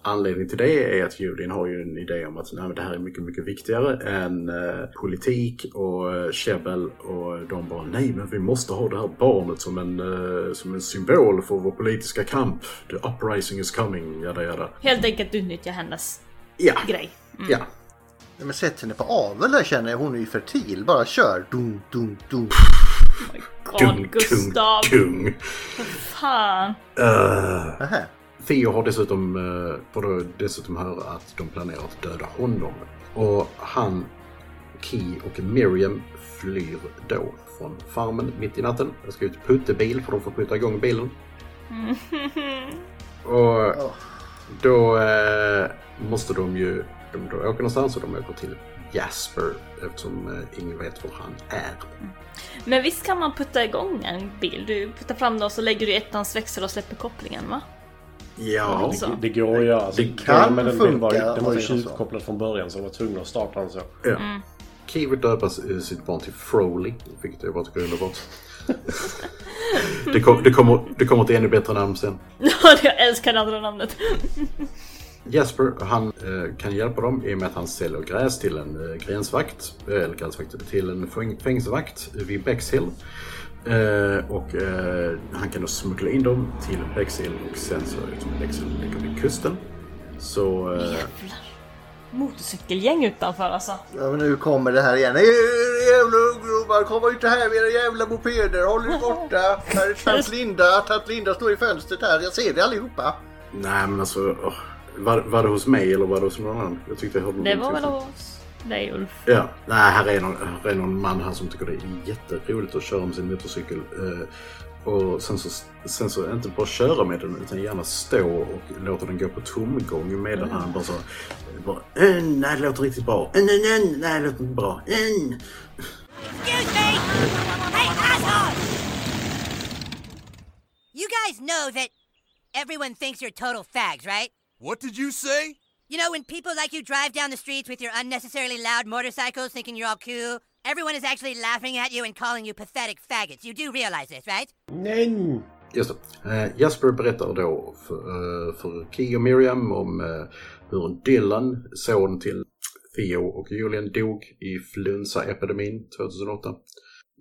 Anledningen till det är att Julian har ju en idé om att Nej, men det här är mycket, mycket viktigare än eh, politik och eh, käbbel och de bara nej men vi måste ha det här barnet som en, eh, som en symbol för vår politiska kamp. The uprising is coming, jada jada.
Helt enkelt utnyttja hennes
Ja,
grej. Mm.
ja.
Nej, men sätt henne på avel där känner jag. Hon är ju fertil. Bara kör. Dum, dum, dum.
Carl Gustav,
tung.
fan.
Eh,
Nähä.
Theo har dessutom, uh, får då dessutom höra att de planerar att döda honom. Och han, Key och Miriam flyr då från farmen mitt i natten. De ska ut i puttebil för de får putta igång bilen. Och då eh, måste de ju de då åker någonstans och de åker till Jasper eftersom eh, ingen vet var han är.
Men visst kan man putta igång en bil? Du puttar fram den och så lägger du i ettans växel och släpper kopplingen va?
Ja.
Så.
Det går att göra.
Det kan
men den, den var, ju-
funka,
den
om
var
man
ju
säger så.
tjuvkopplad från början så de var tvungna att starta den så.
ja.
Mm.
Kiwi döper s- eh, sitt barn till Froley, vilket jag bara tycker är underbart. det, kom, det, kommer, det kommer till ännu bättre namn sen.
jag älskar det andra namnet.
Jasper, han eh, kan hjälpa dem i och med att han säljer gräs till en eh, gränsvakt, eh, eller gränsvakt, till en fäng- fängelsevakt vid Bexhill. Eh, och eh, han kan då smuggla in dem till Bexhill och sen så liksom Bexhill ligger vid kusten. Så eh,
Motorcykelgäng utanför alltså.
Ja, men nu kommer det här igen. "Eh, Jävla ungdomar, kom inte här med era jävla mopeder. Håll er borta. Här är tant Linda. Tant Linda står i fönstret här. Jag ser det allihopa.
nej men alltså, åh, var, var det hos mig eller var det hos någon annan? Jag tyckte jag hörde
Det
någonting
var väl
sånt.
av oss. Nej Ulf.
Ja, nej, här är någon, här är någon man här som tycker det är jätteroligt att köra med sin motorcykel. Eh, och sen så, sen så inte bara köra med den utan gärna stå och låta den gå på tomgång medan han bara så... Bara, "Eh, nej, det låter riktigt bra. Eh, nej, nej, nej, det låter inte bra. Eh."
Excuse me! Hey, asshole! You guys know that everyone thinks you're total fags, right?
What did you say?
You know, when people like you drive down the streets with your unnecessarily loud motorcycles thinking you're all cool, everyone is actually laughing at you and calling you pathetic faggots. You do realize this, right?
Nej!
Just det. Eh, Jasper berättar då för, eh, för Key och Miriam om eh, hur Dylan, son till Theo och Julian, dog i influensaepidemin 2008.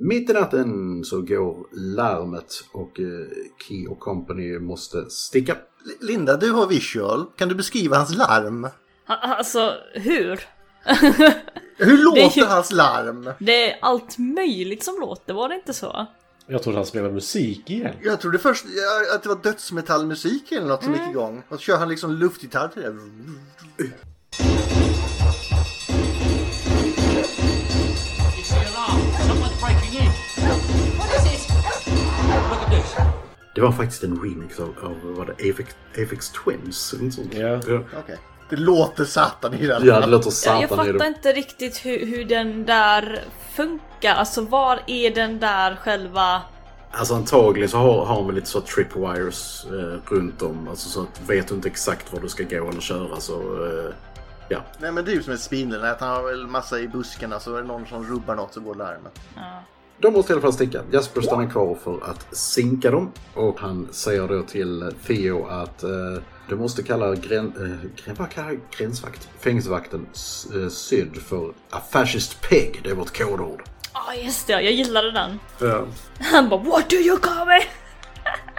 Mitt i natten så går larmet och eh, Key och Company måste sticka.
L- Linda, du har visual. Kan du beskriva hans larm?
Ha- Alltså hur?
Hur
Det är
låter
ju-
hans larm?
Det är allt möjligt som låter, var det inte så?
Jag trodde han spelade musik igen.
Jag trodde först ja, att det var dödsmetallmusik eller något
Mm.
som gick igång. Och så kör han liksom luftgitarr till det.
Det var faktiskt en remix av, av vad det, Afex, Afex Twins. eller något sånt.
Ja.
Ja.
Okej. Det låter satan i den.
ja, det låter
Jag, jag
satan i
fattar
det.
inte riktigt hur, hur den där funkar. Alltså var är den där själva...
Alltså antagligen så har, har man lite så tripwires eh, runt om. Alltså så att vet du inte exakt var du ska gå eller köra så... Eh, ja.
Nej men det är ju som ett spindelnät. Han har väl massa i buskarna så är det någon som rubbar något så går larmet.
De måste i alla fall sticka. Jasper stannar kvar för att sinka dem. Och han säger då till Theo att eh, du måste kalla grän, eh, grän, vad kallar jag gränsvakt? fängelsevakten S- eh, syd för a fascist pig. Det är vårt kodord.
Ja Ah, just det, jag gillade den.
Ja.
Han bara What do you call me?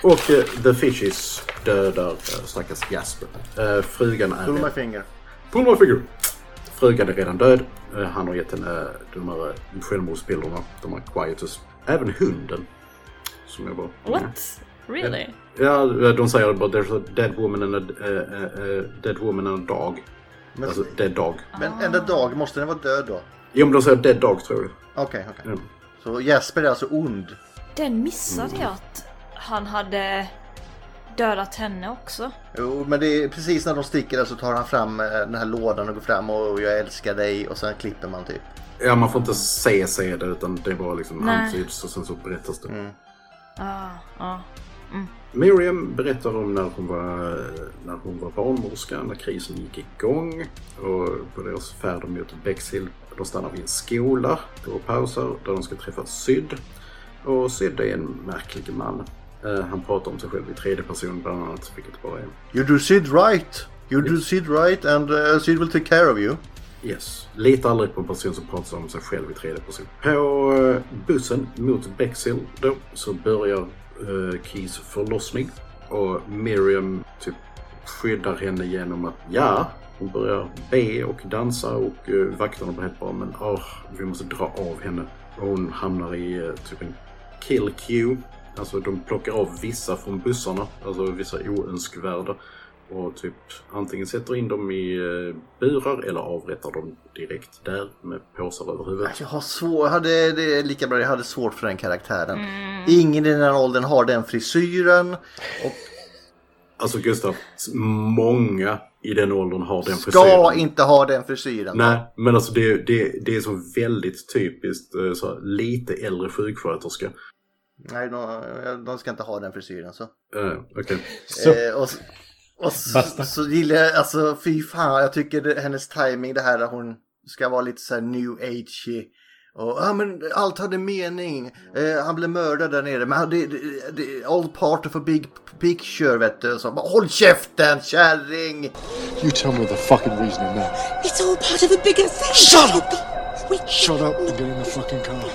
Och eh, the fishes dödar eh, stackars Jasper. Eh, frugan är...
Pull my finger.
Pull my finger. Frugan är redan död. Eh, Han har gett henne de här eh, självmordsbilderna, de här quietus. Även hunden. Som jag bara...
What? Really?
Ja, eh, de säger bara there's a dead woman and a, eh, eh, eh, dead woman and a dog.
Men,
Alltså dead dog.
men enda dag måste den vara död då.
Jo men de säger dead dog tror jag.
Okej, okej.
Mm.
Så Jesper är alltså ond.
Den missade jag att han hade dödat henne också.
Jo, men det är precis när de sticker där så tar han fram eh, den här lådan och går fram och jag älskar dig och sen klipper man typ.
Ja man får inte se se det utan det är bara liksom
Nej.
antyds och sen så berättas det.
Ah, ah.
Miriam berättar om när hon var, när hon var barnmorska, när krisen gick igång och på deras färd mot Bexhill. De stannar vid en skola och pausar där de ska träffa Syd. Och Syd är en märklig man. Eh, Han pratar om sig själv i tredje person bland annat, vilket bara är
You do Sid right! You do Sid right and uh, Sid will take care of you.
Yes. Lita aldrig på en person som pratar om sig själv i tredje person. På eh, bussen mot Bexhill då så börjar eh, Keys förlossning. Och Miriam typ skyddar henne genom att ja, hon börjar be och dansa och eh, vakterna blir helt bara men åh, vi måste dra av henne. Och hon hamnar i eh, typ en kill queue. Alltså de plockar av vissa från bussarna, alltså vissa oönskvärda och typ antingen sätter in dem i eh, burar eller avrättar dem direkt där med påsar över huvudet.
Alltså, Jag har svårt, jag hade, det är lika bra, jag hade svårt för den karaktären. Ingen i den här åldern har den frisyren.
Alltså Gustav, många i den åldern har den
Ska inte ha den frisyren.
Nej, men alltså det, är- det, är- det är så väldigt typiskt eh, så här, lite äldre sjuksköterska.
Nej, de, de ska inte ha den frisyren så.
Eh, Okej.
Så,
Eh, och, s- Och så,
Basta.
så gillar jag, alltså fy fan, jag tycker det, hennes timing det här där hon ska vara lite så här new age och ja men allt hade mening. Eh, han blev mördad där nere. Men det, det, det, all part of a big picture vet du. Så, bara, Håll käften kärring!
You tell me the fucking reasoning now.
It's all part of a bigger thing.
Shut up! Shut up and get in the fucking car.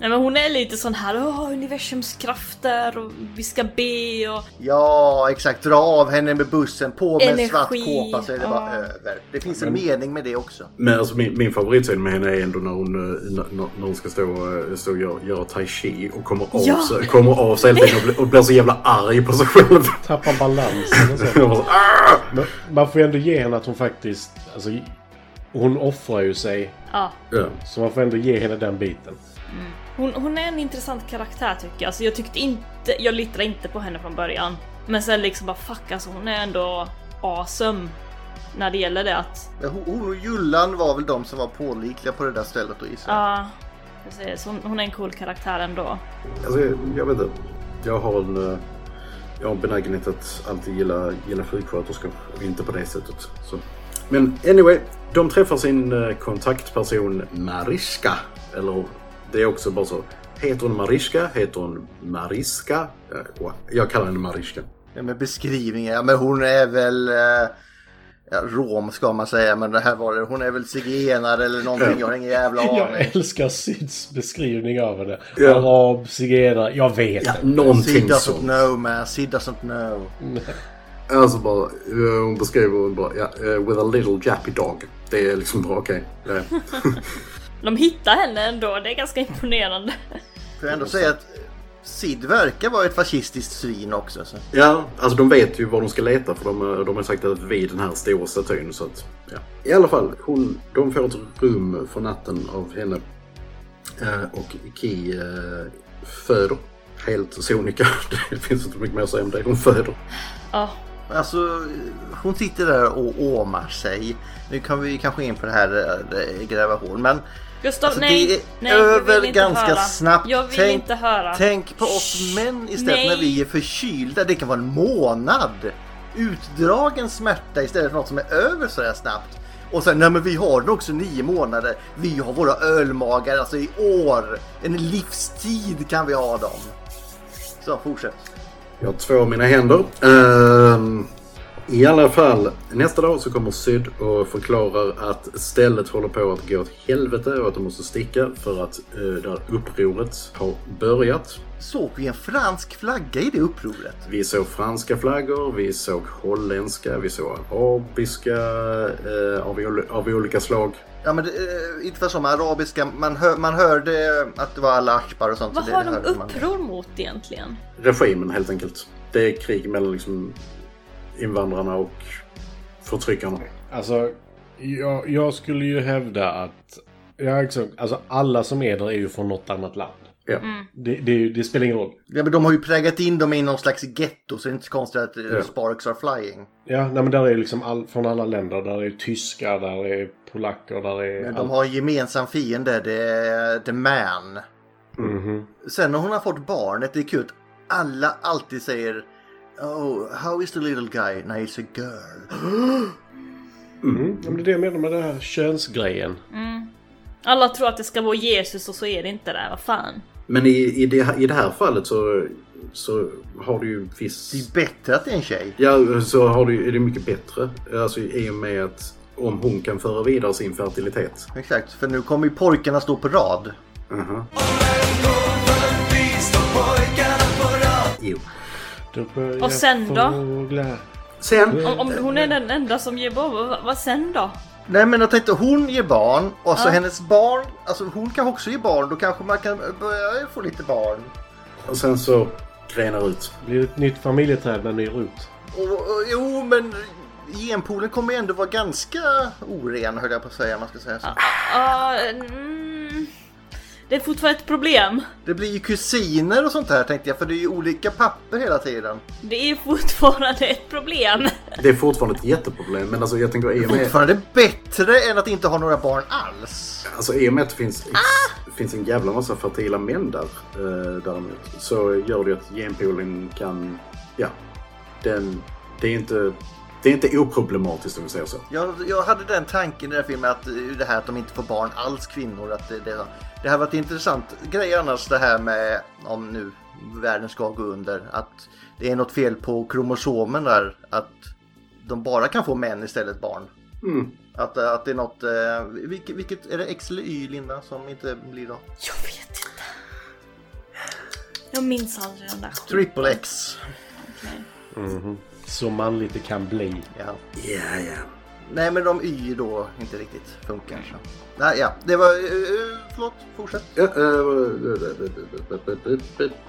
Nej men hon är lite sån här, åh universums krafter och vi ska be och...
Ja exakt, dra av henne med bussen, på med en svart
Energi,
kåpa så är det bara
ja.
över. Det finns en mening med det också.
Men alltså min, min favoritscen med henne är ändå när hon, eh, när- när, när hon ska stå, eh, stå och göra, göra tai chi och kommer av,
Ja.
sig, kommer av sig hela tiden och, blir- och blir så jävla arg på sig själv.
Tappar balansen och
Jag
så.
bara så, "Ah!" "Arr!"
Men man får ju ändå ge henne att hon faktiskt... Alltså, hon offrar ju sig.
Ja.
Ja.
Så man får ändå ge henne den biten.
Hon, hon är en intressant karaktär tycker jag. Alltså jag tyckte inte, jag litade inte på henne från början. Men sen liksom bara fuck alltså hon är ändå awesome. När det gäller det att,
Men Hon hon och Jullan var väl de som var pålitliga på det där stället då gissar jag.
ja. precis, hon, hon är en cool karaktär ändå.
Alltså, jag, jag vet inte. Jag har en, eh, jag har en benägenhet att alltid gilla, gilla sjuksköterskor. och Inte på det sättet. Så. Men anyway, de träffar sin eh, kontaktperson Mariska. Eller det är också bara så. Heter hon Mariska? Heter hon Mariska? Jag, jag kallar henne Mariska.
Ja, men beskrivningen, ja men hon är väl eh, ja, rom ska man säga, men det här var det. Hon är väl zigenare eller någonting, jag har ingen jävla
Jag
aning.
älskar Syds beskrivning av henne.
Ja.
Arab, zigenare, jag vet
Ja,
inte.
Sid
någonting
doesn't
sånt.
know man, Sid doesn't know.
Alltså bara, eh, hon beskriver bara, ja, eh, with a little jappy dog. Det är liksom bara okej. Eh,
De hittar henne ändå, det är ganska imponerande.
Får jag ändå säga att Sid verkar vara ett fascistiskt svin också. Så.
Ja, alltså de vet ju var de ska leta för de, de har sagt att vi är den här stora statyn. Så att, ja. I alla fall, hon, de får ett rum för natten av henne. Eh, och Ki eh, föder. Helt sonika. Det finns inte mycket mer att säga om det. Hon föder.
Ja,
Alltså, hon sitter där och åmar sig. Nu kan vi kanske in på det här eh, gräva hål, men
Gustav,
Alltså,
nej!
det är
nej, jag
över
vill inte
ganska
höra.
snabbt.
Jag vill
Tänk-
inte höra.
tänk på oss män istället
nej.
när vi är förkylda. Det kan vara en månad. Utdragen smärta istället för något som är över så här snabbt. Och sen, nej men vi har den också nio månader. Vi har våra ölmagar alltså i år. En livstid kan vi ha dem. Så fortsätt.
Jag har två av mina händer. Ehm, I alla fall, nästa dag så kommer Syd och förklarar att stället håller på att gå åt helvete och att de måste sticka för att eh, det här upproret har börjat.
Såg vi en fransk flagga i det upproret?
Vi såg franska flaggor, vi såg holländska, vi såg arabiska eh, av, ol- av olika slag.
Ja men det, eh, inte för som arabiska, man, hör, man hörde att det var alla akbar och sånt.
Vad
så
har
det,
de
det hörde man.
uppror mot egentligen?
Regimen helt enkelt. Det är krig mellan liksom, invandrarna och förtryckarna.
Alltså, jag, jag skulle ju hävda att... Jag, liksom, alltså, alla som är där är ju från något annat land.
Ja.
Det, det, är ju- det spelar ingen roll.
Ja, men de har ju prägat in dem i någon slags getto så det är inte så konstigt att eh,
Ja.
sparks are flying.
Ja, nej, men där är ju liksom all, från alla länder. Där är tyskar, där är polacker, där är...
Men
allt.
de har en gemensam fiende, det är the man.
Mhm.
Sen när hon har fått barnet, det är kul att alla alltid säger Oh, how is the little guy? Nej, it's a girl.
Mm, ja, men det är det jag menar med den här könsgrejen.
Mm.
Alla tror att det ska vara Jesus och så är det inte det, vad fan.
Men i, i, det, i det här fallet så, så har du ju viss...
Det är bättre att det är en tjej.
Ja, så har du, är det mycket bättre. Alltså i och med att om hon kan föra vidare sin fertilitet.
Exakt, för nu kommer ju pojkarna stå på rad.
uh Jo.
Då börjar
Och sen då?
fåglar-
Sen,
Om, om hon är den enda som ger barn, vad, vad sen då?
Nej men jag tänkte hon ger barn och så hennes barn, alltså hon kan också ge barn, då kanske man kan börja få lite barn.
och sen så grenar ut.
Blir det ett nytt familjeträd med ny rot?
Och, och, jo men genpoolen kommer ju ändå vara ganska oren höll jag på att säga. om Man ska säga så.
Ah, mm, det är fortfarande ett problem.
Det blir ju kusiner och sånt här tänkte jag för det är ju olika papper hela tiden.
Det är fortfarande ett problem.
Det är fortfarande ett jätteproblem men alltså jag tänker i och med,
Fortfarande bättre än att inte ha några barn alls.
alltså, i och med att det finns, ex,
Ah!
finns en jävla massa fertila män där eh, däremot. Så gör det ju att genpoolen kan, ja. Den, det är inte Det är inte oproblematiskt om vi säger så.
Jag, jag hade den tanken i den här filmen att eh, det här att de inte får barn alls kvinnor. Att det, det, det här varit intressant grej annars det här med om nu världen ska gå under. Att det är något fel på kromosomen där. Att de bara kan få män istället barn.
Mm.
Att, eh, att det är något, eh, vilket, vilket är det X eller Y Linda som inte blir då?
Jag minns aldrig den där skiten.
Triple X.
Okej.
Mhm. Så manligt det kan bli.
Ja.
Yeah, yeah.
Nej men de Y då inte riktigt funkar. Så. Nej, ja, det var, eh, eh, förlåt, fortsätt.
Ja,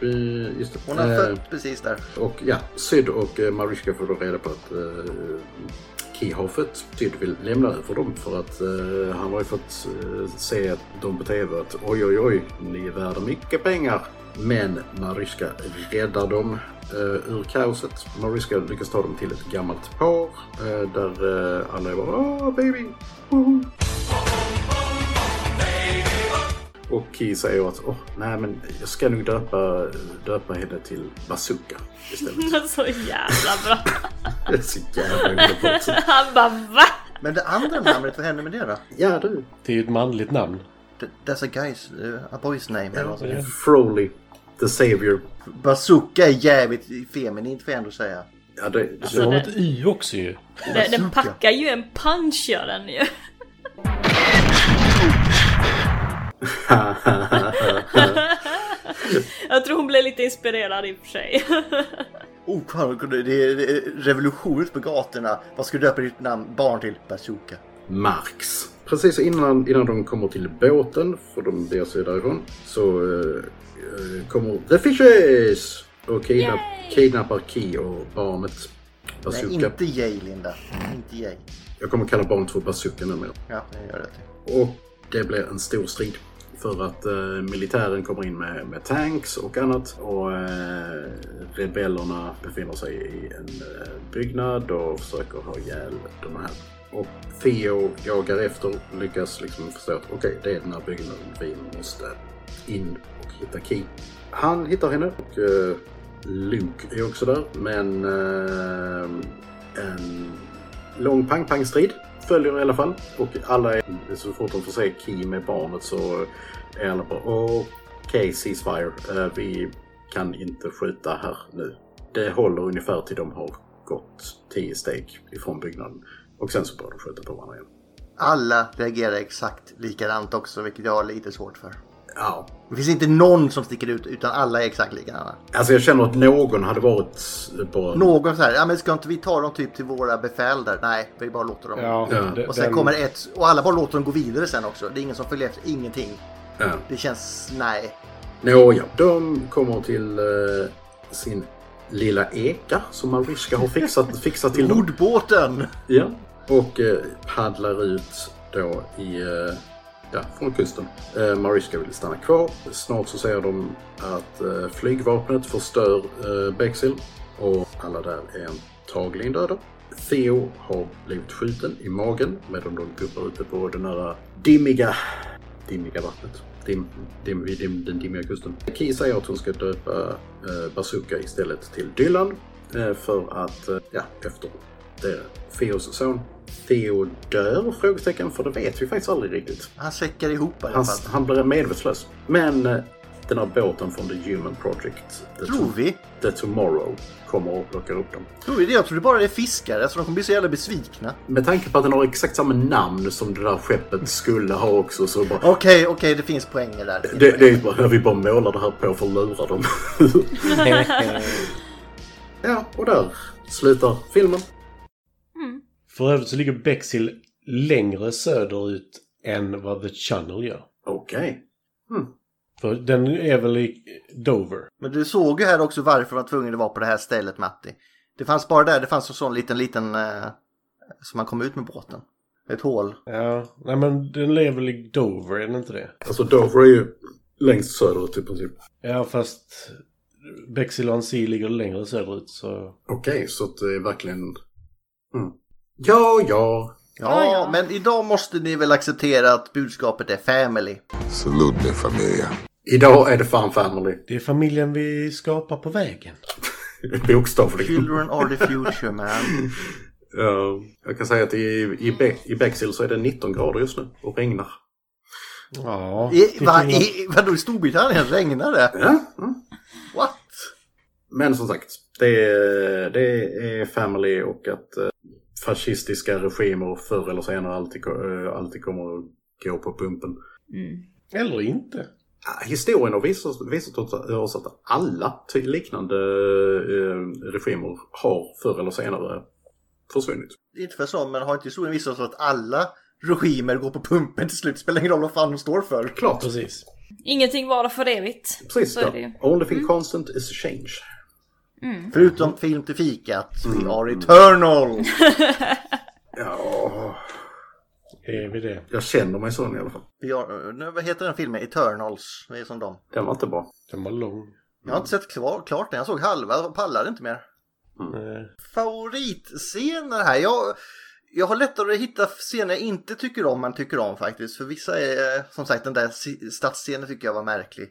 eh, Just det.
Hon har
Eh,
fött precis där.
Och ja, Syd och eh, Mariska får då reda på att eh, Keyhoffet Syd vill lämna över dem för att eh, han har ju fått eh, se att de på TV att oj oj oj, ni är värda mycket pengar. Men Mariska räddar dem eh, ur kaoset. Mariska lyckas ta dem till ett gammalt par eh, där eh, alla är bara "Ah, baby, woho." Och Key säger att åh, nej men jag ska nog döpa, döpa henne till Bazooka istället.
Så jävla bra.
Det är så jävla underbart.
Han bara VA?
Men det andra namnet, vad hände med det då?
Ja du.
Det är ju ett manligt namn.
D- That's a guy's, uh, a boy's name eller vad som helst.
Froley, the savior.
Bazooka är jävligt feminint får jag ändå säga.
Ja, det,
Det har ett Y också ju.
Den, den packar ju en punch gör den ju. Jag tror hon blev lite inspirerad i och för sig.
Oh, fan, det är det är revolution ute på gatorna. Vad ska du döpa ditt namn, barn till? Bazooka.
Marx. Precis innan, innan de kommer till båten, för de beger sig därifrån, så eh, eh, kommer The Fishes! Och kidnapp, kidnappar Key och barnet
Nej,
Bazooka.
inte Jay Linda. Inte Jay.
Jag kommer kalla barnet för Bazooka numera.
Ja, jag gör det till.
Och det blir en stor strid. För att eh, militären kommer in med, med tanks och annat. Och eh, rebellerna befinner sig i en eh, byggnad och försöker ha ihjäl de här. Och Theo jagar efter och lyckas liksom förstå att okej, det är den här byggnaden vi måste in och hitta Key. Han hittar henne och eh, Luke är också där. Men eh, en lång pang-pang-strid följer i alla fall. Och alla är, så fort de får se Key med barnet så är alla bara okej, ceasefire. Eh, vi kan inte skjuta här nu. Det håller ungefär till de har gått 10 steg ifrån byggnaden. Och sen så börjar de skjuta på varandra igen.
Alla reagerar exakt likadant också, vilket jag har lite svårt för.
Ja,
Det finns inte någon som sticker ut, utan alla är exakt likadana.
alltså jag känner att någon hade varit bara...
Någon så här, ja men ska inte vi ta dem typ till våra befäl där? Nej, vi bara låter dem.
Ja,
Ja.
det-
Och sen
den-
kommer ett, och alla bara låter dem gå vidare sen också. Det är ingen som följer efter, ingenting.
Ja.
Det känns, nej.
Nåja, de kommer till eh, sin lilla eka som Mariska har fixat, fixat till dem.
Mordbåten!
Ja. Och eh, paddlar ut då i, eh, ja, från kusten. Eh, Mariska vill stanna kvar. Snart så ser de att eh, flygvapnet förstör eh, Bexhill och alla där är antagligen döda. Theo har blivit skjuten i magen medan de guppar ute på den här dimmiga, dimmiga vattnet. Dim, dim, vid dim, den dimmiga kusten. Key säger att hon ska döpa eh, Bazooka istället till Dylan. Eh, för att, eh, ja, efter det, Theos son. Theo dör? Frågetecken, för det vet vi faktiskt aldrig riktigt.
Han säckar ihop i alla
Han,
fall.
han blir medvetslös. Men eh, den här båten från The Human Project, The,
Tror vi?
The Tomorrow, kommer och plockar upp dem.
Tror vi det? Jag tror det bara är fiskare, så de kommer bli så jävla besvikna.
Med tanke på att den har exakt samma namn som det där skeppet skulle ha också så bara...
Okej, okej, det finns poänger där. finns
Det, det är
poänger.
ju bara, vi bara målar det här på för att lura dem. ja, och där slutar filmen.
För övrigt så ligger Bexhill längre söderut än vad The Channel gör.
Okej.
För den är väl i Dover.
Men du såg ju här också varför de var tvungna att vara på det här stället, Matti. Det fanns bara där, det fanns en sån liten, liten... Eh, som man kom ut med båten. Ett hål.
Ja, nej men den är väl i Dover, är den inte det?
Alltså Dover är ju längst söderut i princip.
Ja, fast Bexhill och Annecy ligger längre söderut så...
Okej, så att det är verkligen... Mm. Ja, ja.
Ja, men idag måste ni väl acceptera att budskapet är family.
Salute me, familia.
Idag är det fan family.
Det är familjen vi skapar på vägen.
Bokstavligen.
Children are the future, man.
Eh, jag kan säga att i, i, Be- i Bexhill så är det 19 grader just nu och regnar.
Ja.
I, va, i, vadå, i Storbritannien regnar det?
Ja.
What?
Men som sagt, det är, det är family och att eh, fascistiska regimer förr eller senare alltid, ko- eh, alltid kommer att gå på pumpen.
Eller inte.
Ah, Historien har visat, visat oss- oss att alla ty- liknande eh, regimer har förr eller senare försvunnit.
Inte för så, men har inte historien visat oss att alla regimer går på pumpen till slut? Spelar ingen roll vad fan de står för.
Klart!
Precis.
Ingenting varar för evigt.
Precis,
Så är det ju. Mm.
ja. Only thing constant is change.
Förutom film till fikat. We are eternal!
Ja,
Är vi det?
jag känner mig sån i alla fall.
We are, nu, vad heter den filmen? Eternals. Vi är som dem.
Den var inte bra.
Den var lång.
Jag har inte sett kvar, klart den. Jag såg halva och pallade inte mer. Mm.
Eh,
favoritscener här. Jag, jag har lättare att hitta scener jag inte tycker om än tycker om faktiskt. För vissa är, eh, som sagt, den där si- stadsscenen tycker jag var märklig.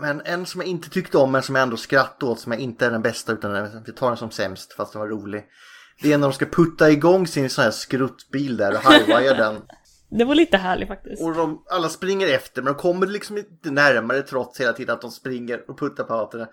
Men en som jag inte tyckte om men som jag ändå skrattade åt som jag inte är den bästa utan den- vi tar den som sämst fast den var rolig. Det är när de ska putta igång sin sån här skruttbil där och highwire den.
Det var lite härligt faktiskt.
Och de, alla springer efter men de kommer liksom inte närmare trots hela tiden att de springer och puttar på varandra.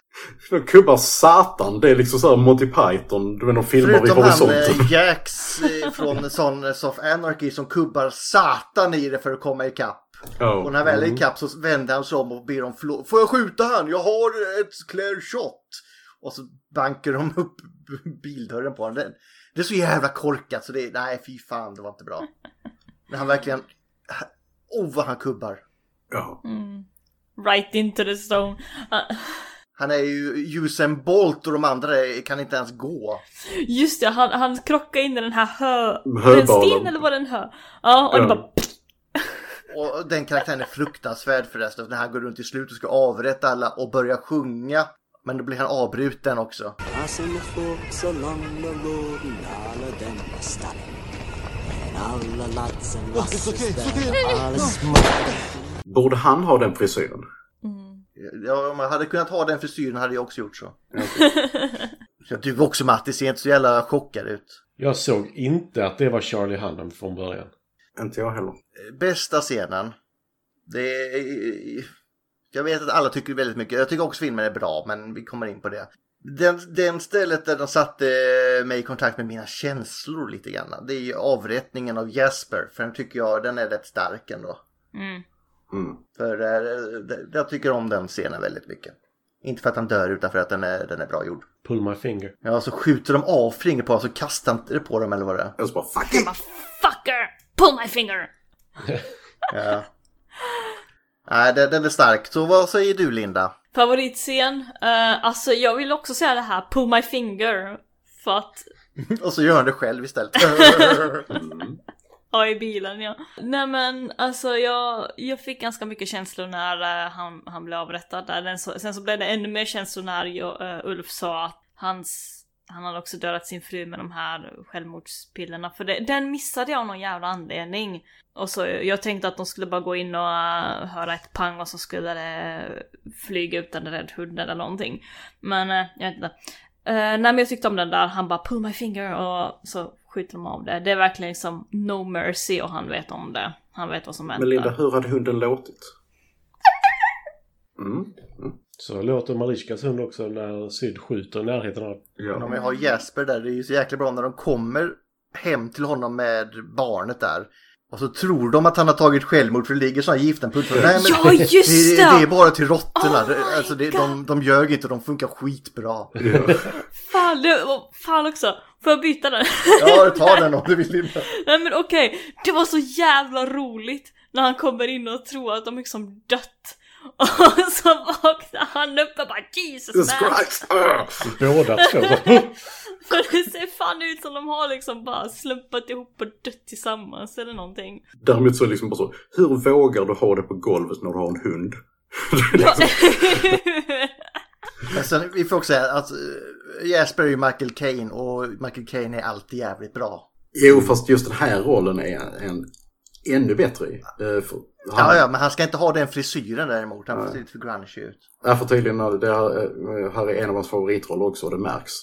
De kubbar Satan, det är liksom såhär Monty Python, du vet de filmar vid
Förutom han
horisonten.
eh, Jax eh, från Sons of Anarchy som kubbar satan i det för att komma ikapp.
Ja.
Och när han väl är ikapp så vänder han sig om och ber om förlåt. Får jag skjuta han? Jag har ett clear shot. Och så bankar de upp bildörren på honom. Det- Det är så jävla korkat så det är, nej fy fan det var inte bra. Men han verkligen, oh vad han kubbar.
Ja.
Right into the stone. Ah,
Han är ju Usain Bolt och de andra är- kan inte ens gå.
Just det, han, han krockade in i den här hö...
Höbalen.
var det En sten eller var det en hö? Ja, och det
Ja.
bara...
Och den karaktären är fruktansvärd förresten. När han går runt i slutet och ska avrätta alla och börja sjunga. Men då blir han avbruten också.
Som fox along the road and all of them are stopping. And all the lads and lasses there all is
Borde han ha den frisyren?
Ja, om jag hade kunnat ha den frisyren hade jag också gjort så. Ja, du också Matti ser inte så jävla chockad ut.
Jag såg inte att det var Charlie Hunnam från början.
Inte jag heller.
Bästa scenen. Det är... Jag vet att alla tycker väldigt mycket. Jag tycker också filmen är bra men vi kommer in på det. Den, den stället där de satte mig i kontakt med mina känslor lite grann. Det är ju avrättningen av Jasper. För den tycker jag den är rätt stark ändå.
Mm.
Mm.
För eh, det- jag tycker om den scenen väldigt mycket. Inte för att han dör utan för att den är, den är bra gjord.
Pull my finger.
Ja, så skjuter de av fingret på honom så kastar han det på dem eller vad det är.
Jag så bara fuck it!
Fucker! Pull my finger!
Ja. Nej, den, den är stark. Så vad säger du Linda?
Favoritscen? Uh, alltså jag vill också säga det här, pull my finger. För att
Och så gör han det själv istället.
Ja, i bilen ja. Nej men alltså jag, jag fick ganska mycket känslor när eh, han, han blev avrättad där. Den så, sen så blev det ännu mer känslor när jag, eh, Ulf sa att hans, han hade också dödat sin fru med de här självmordspillerna. För det, den missade jag av någon jävla anledning. Och så, jag tänkte att de skulle bara gå in och eh, höra ett pang och så skulle det flyga ut en rädd hund eller någonting. Men eh, jag vet inte. Uh, nej men jag tyckte om den där, han bara pull my finger och så skjuter de av det. Det är verkligen liksom no mercy och han vet om det. Han vet vad som
Men Linda,
händer.
hur hade hunden låtit? Mm.
Så låter Marishkas hund också när Syd skjuter i närheten av
Om
Ja.
jag har Jesper där, det är ju så jäkla bra när de kommer hem till honom med barnet där. Och så tror de att han har tagit självmord för det ligger sådana giftenpuls. Nej, men
Ja, just
det!
det!
Det är bara till råttorna.
Oh
Det-
my
alltså, det, de, de ljög inte, de funkar skitbra.
Fan, det, och fan också! Får jag byta den?
Ja, ta den om du vill Linda.
nej men okej, det var så jävla roligt när han kommer in och tror att de liksom dött. Och så vaknar han upp och bara Jesus
Jesus
man!
Christ! Ah!
båda två.
För det ser fan ut som de har liksom bara slumpat ihop och dött tillsammans eller någonting.
Däremot så är det liksom bara så, hur vågar du ha det på golvet när du har en hund?
Men sen, vi får också säga att eh, Jesper är ju Michael Caine och Michael Caine är alltid jävligt bra.
Jo,
Mm.
fast just den här rollen är en ännu bättre i. Eh, för-
Ja,
Han,
ja, men han ska inte ha den frisyren däremot. Han ser lite för grungy ut.
ja, för tydligen, eh, det här, eh, här är en av hans favoritroller också, och det märks.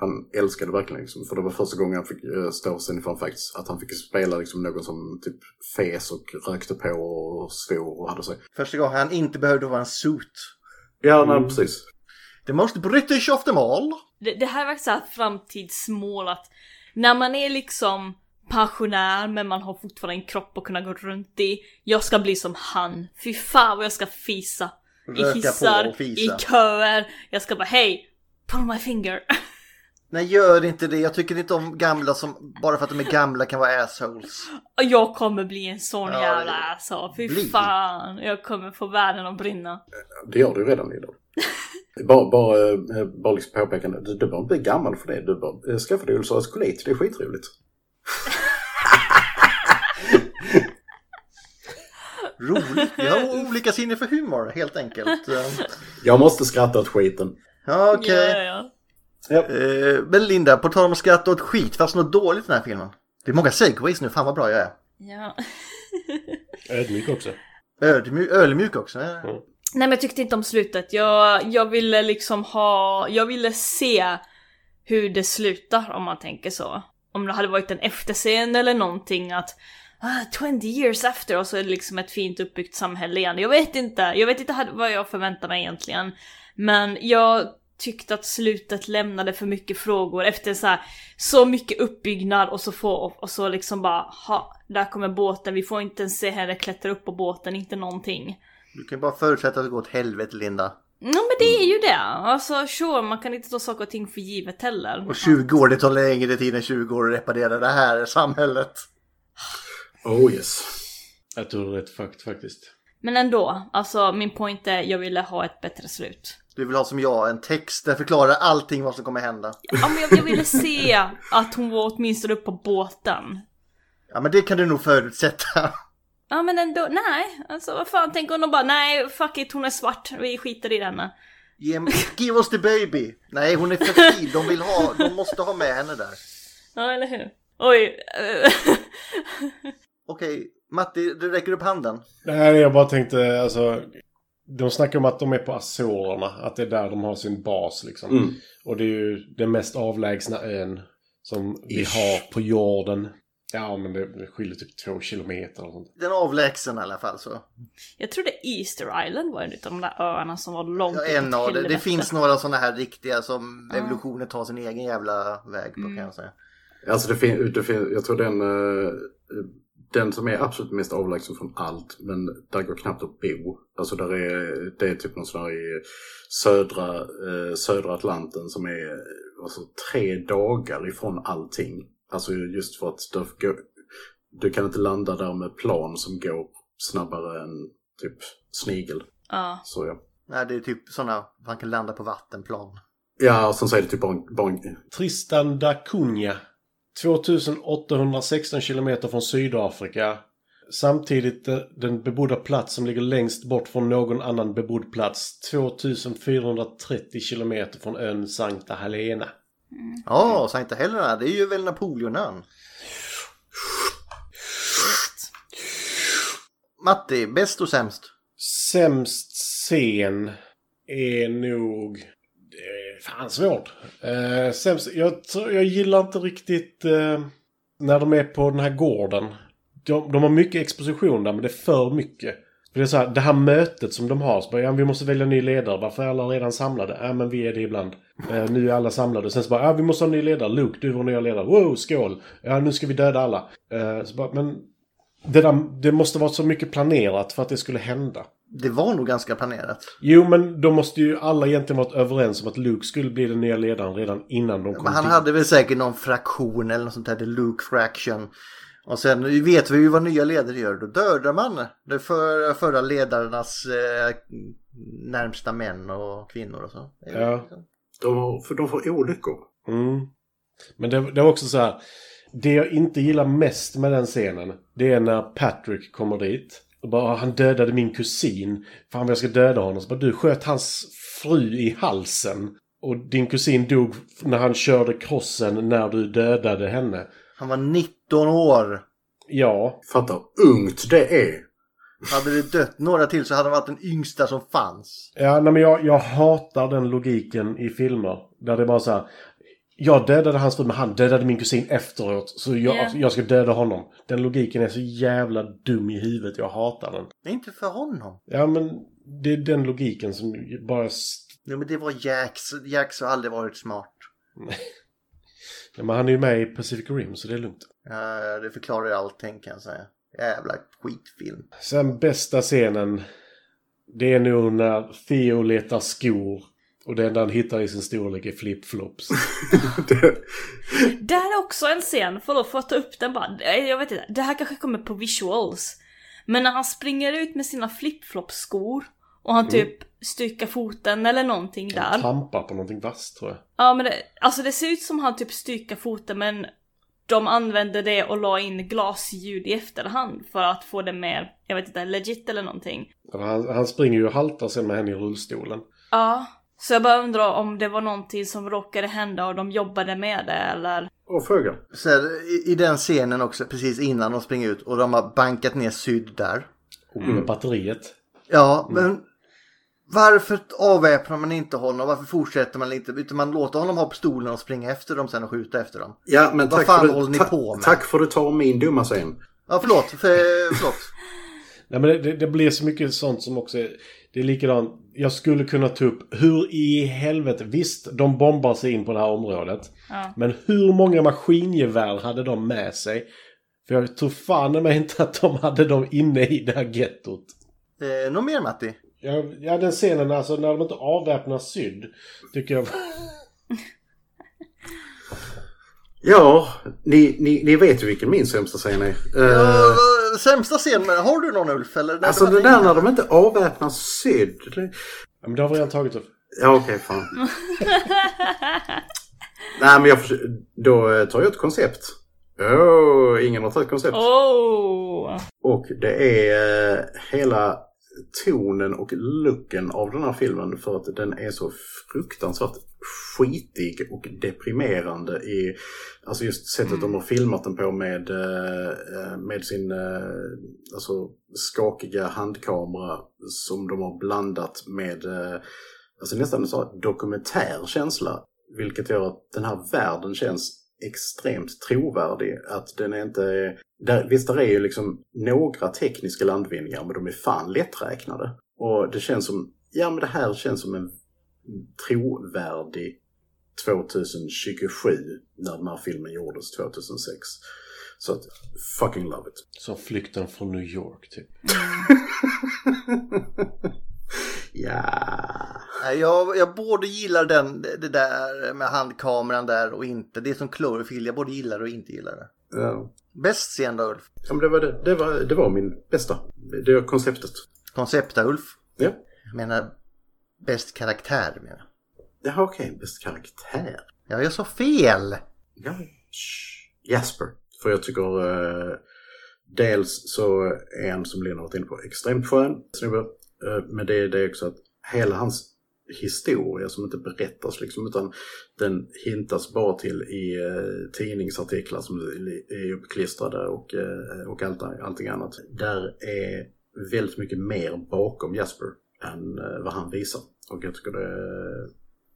han älskade verkligen liksom, för det var första gången han fick eh, stå sen i Fun Facts, att han fick spela liksom någon som typ fes och rökte på och svor och hade sig.
Första gången han inte behövde vara en suit.
Ja,
Mm.
nej, precis.
The most British of them all.
Det, det här är verkligen så här framtidsmål att när man är liksom pensionär men man har fortfarande en kropp att kunna gå runt i. Jag ska bli som han. Fy fan vad jag ska fisa. I
Röka på
hissar,
och
i
fisa.
köer. Jag ska bara hej, pull my finger.
Nej, gör inte det. Jag tycker inte om gamla som bara för att de är gamla kan vara assholes.
Och jag kommer bli en sån
Ja,
jävla
det-
alltså. Fy
bli.
fan. Jag kommer få världen att brinna.
Det gör du ju redan idag. bara bara, eh, bara liksom påpekande, du, du behöver inte bli gammal för det. Du behöver eh, skaffa dig ulcerös kolit, det är skitroligt.
Roligt. Vi har olika sinne för humor helt enkelt. Eh,
Jag måste skratta åt skiten.
Ja, okej.
Ja, ja.
Eh, Men Linda, på tal om skratt och skit, fast något dåligt i den här filmen. Det är många segways nu, fan vad bra jag är.
ja.
Ödmjuk också.
Ödmjuk, ölmjuk också. eh.
Nej men jag tyckte inte om slutet. Jag, jag ville liksom ha, jag ville se hur det slutar om man tänker så. Om det hade varit en efterscen eller någonting att ah, 20 years after och så är det liksom ett fint uppbyggt samhälle igen. Jag vet inte, jag vet inte had- vad jag förväntade mig egentligen. Men jag tyckte att slutet lämnade för mycket frågor efter så här, så mycket uppbyggnad och så få och så liksom bara ha, där kommer båten, vi får inte ens se henne klättra upp på båten, inte någonting.
Du kan ju bara förutsätta att det går åt helvete Linda.
Ja men det
Mm.
är ju det. Alltså sure, man kan inte ta saker och ting för givet heller.
Och 20 år, det tar längre tid än 20 år att reparera det här samhället.
Oh yes.
Jag tror det är rätt fakt faktiskt.
Men ändå, alltså min point är jag ville ha ett bättre slut.
Du vill ha som jag, en text där förklarar allting vad som kommer hända.
Ja men jag, jag ville se att hon var åtminstone upp på båten.
Ja men det kan du nog förutsätta.
Ja men ändå, nej. Alltså vad fan, tänk om de bara nej fuck it hon är svart, vi skiter i denna.
Ge- Give us the baby! Nej hon är fertil, de vill ha, de måste ha med henne där.
Ja eller hur? Oj. eh,
Okej, Matti, du räcker upp handen.
Nej, jag bara tänkte alltså. De snackar om att de är på Azorerna. Att det är där de har sin bas liksom.
Mm.
Och det är ju den mest avlägsna ön som vi
Ish.
har på jorden. Ja, men det skiljer typ två kilometer eller sånt.
Den är avlägsen i alla fall så.
jag trodde Easter Island var en utav de där öarna som var långt
Ja,
utåt
en av det. Det
helvete.
finns några sådana här riktiga som evolutionen tar sin egen jävla väg på kan jag säga.
Alltså det fin- det fin- jag tror den, eh, den som är absolut mest avlägsen från allt, men där går knappt att bo. Alltså där är, det är typ någon sån här i södra, eh, södra Atlanten som är eh, alltså, tre dagar ifrån allting. Alltså just för att du, går- du kan inte landa där med plan som går snabbare än typ snigel.
Ja.
Så ja.
Nej, det är typ sådana man kan landa på vattenplan.
Ja, och sen så är det typ bara en, bara en
Tristan da Cunha. 2816 kilometer från Sydafrika. Samtidigt eh, den bebodda plats som ligger längst bort från någon annan bebodd plats. 2430 kilometer från ön Sankta Helena.
Ja, så inte heller det. här. Det är ju väl Napoleonön. Matti, bäst och sämst?
Sämst scen är nog... det är Fan svårt. Eh, sämst, jag, tror- jag gillar inte riktigt eh, när de är på den här gården. De, de har mycket exposition där, men det är för mycket. För det, är så här, det här mötet som de har, så bara, ja, vi måste välja ny ledare. Varför är alla redan samlade? Ja, men vi är det ibland. Eh, nu är alla samlade. Sen så bara, ja, vi måste ha en ny ledare. Luke, du är vår nya ledare. Wow, skål! Ja, nu ska vi döda alla. Eh, så bara, men det, där, det måste varit så mycket planerat för att det skulle hända.
Det var nog ganska planerat.
Jo, men då måste ju alla egentligen varit överens om att Luke skulle bli den nya ledaren redan innan de kom
Men han
dit.
hade väl säkert någon fraktion eller något sånt där, the Luke fraction. Och sen vet vi ju vad nya ledare gör, då dödar man de för, förra ledarnas eh, närmsta män och kvinnor och så.
Ja.
de, har, för de får olyckor.
Mm. Men det, det var också så här. Det jag inte gillar mest med den scenen, det är när Patrick kommer dit. Och bara, "Ah, han dödade min kusin. Fan vad jag ska döda honom. Så bara, du sköt hans fru i halsen. Och din kusin dog när han körde krossen när du dödade henne.
Han var 19 år.
Ja,
Fatta hur ungt det är.
Hade det dött några till så hade han varit den yngsta som fanns.
Ja, nej, men jag, jag hatar den logiken i filmer. Där det är bara så här. jag dödade hans fru men han dödade min kusin efteråt. Så jag,
Ja.
jag ska döda honom. Den logiken är så jävla dum i huvudet. Jag hatar den.
Det är inte för honom.
Ja men det är den logiken som bara... s-
Nej men det var Jacks. Jacks har aldrig varit smart.
Nej, men han är ju med i Pacific Rim så det är lugnt.
Ja, Eh, det förklarar ju allting kan jag säga. Jävla skitfilm.
Sen bästa scenen. Det är nog när Theo letar skor. Och det enda han hittar i sin storlek är flipflops.
Där är också en scen, förlåt för att ta upp den bara, eh, jag vet inte, det här kanske kommer på visuals. Men när han springer ut med sina flipflop-skor och han
Mm.
typ styrkar foten eller någonting
Han
där.
trampar på någonting vasst tror jag.
Ja men det, alltså det ser ut som han typ styrkar foten men de använde det och la in glasljud i efterhand för att få det mer, jag vet inte, legit eller någonting.
För Han, han springer ju och haltar sen med henne i rullstolen.
Ja, så jag bara undrar om det var någonting som råkade hända och de jobbade med det eller?
Och föga.
Så här, i, I den scenen också, precis innan de springer ut och de har bankat ner Syd där.
Och med batteriet.
Ja, men varför avväpnar man inte honom? Varför fortsätter man inte? Utan man låter honom ha pistolen och springa efter dem sen och skjuta efter dem.
Ja, men
Vad
tack
fan
för,
håller ni
ta-
på med?
Tack för att du tar min dumma scen.
Ja, förlåt. För, förlåt.
Nej, men det, det, det blir så mycket sånt som också är, Det är likadant. Jag skulle kunna ta upp hur i helvete... Visst, de bombar sig in på det här området.
Ja.
Men hur många maskingevär hade de med sig? För jag tror fan i mig inte att de hade dem inne i det här gettot.
Eh, något mer Matti?
Ja, ja, den scenen alltså när de inte avväpnar sydd. Tycker jag...
Ja, ni, ni, ni vet ju vilken min sämsta scen är. Eh,
Ja, sämsta scenen, har du någon Ulf? Eller? Nej,
alltså
det var
det där
ingen.
när de inte avväpnar sydd. det-
Ja, men det har vi redan tagit upp.
Ja, okej, fan. Nej, men jag förs- Då eh, tar jag ett koncept. Åh, ingen har tagit koncept.
Oh!
Och det är eh, hela tonen och looken av den här filmen för att den är så fruktansvärt skitig och deprimerande i alltså just sättet de har filmat den på med, eh, med sin eh, alltså skakiga handkamera som de har blandat med eh, alltså nästan en sån här dokumentär känsla. Vilket gör att den här världen känns extremt trovärdig. Att den är inte... Där, visst, där är ju liksom några tekniska landvinningar, men de är fan lätträknade. Och det känns som... Ja, men det här känns som en trovärdig 2027 när den här filmen gjordes 2006. Så att, fucking love it.
Som flykten från New York typ.
Ja...
Nej, jag, jag både gillar den, det där med handkameran där och inte. Det är som Cloverfield, jag både gillar det och inte gillar det.
ja.
Bäst scen då Ulf?
Ja, men det, var det, det, var, det var min bästa. Det är konceptet.
Koncepta Ulf?
Ja.
Jag menar bäst karaktär menar jag.
Jaha, okej. Bäst karaktär.
Ja, jag sa fel!
Ja. Shh. Jasper. För jag tycker eh, dels så är han som Lena varit inne på extremt skön snubbe. Eh, men det, det är också att hela hans historia som inte berättas liksom utan den hintas bara till i eh, tidningsartiklar som är uppklistrade och, eh, och allt, allting annat. Där är väldigt mycket mer bakom Jasper än eh, vad han visar. Och jag tycker det...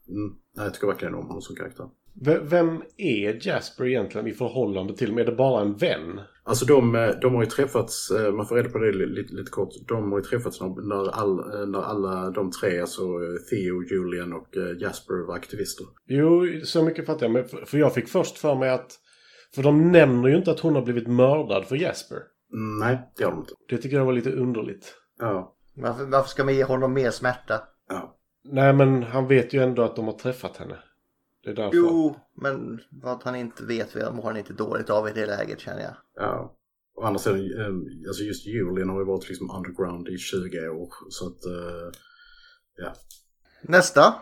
Mm, nej, jag tycker verkligen om honom som karaktär.
V- vem är Jasper egentligen i förhållande till dem? Är det bara en vän?
Alltså de, de har ju träffats, eh, man får reda på det lite, lite kort, de har ju träffats när, när, all, eh, när alla de tre, alltså Theo, Julian och eh, Jasper var aktivister.
Jo, så mycket fattar jag. Men för, för jag fick först för mig att... För de nämner ju inte att hon har blivit mördad för Jasper.
Mm, Nej, det har de inte.
Det tycker jag var lite underligt.
Ja.
Varför, varför ska man ge honom mer smärta?
ja.
Nej, men han vet ju ändå att de har träffat henne. Det är därför.
Jo, men vad han inte vet mår han inte dåligt av i det läget känner jag.
ja. Å andra sidan, eh, alltså just Julian har ju varit liksom underground i 20 år. Så att, eh, ja.
Nästa!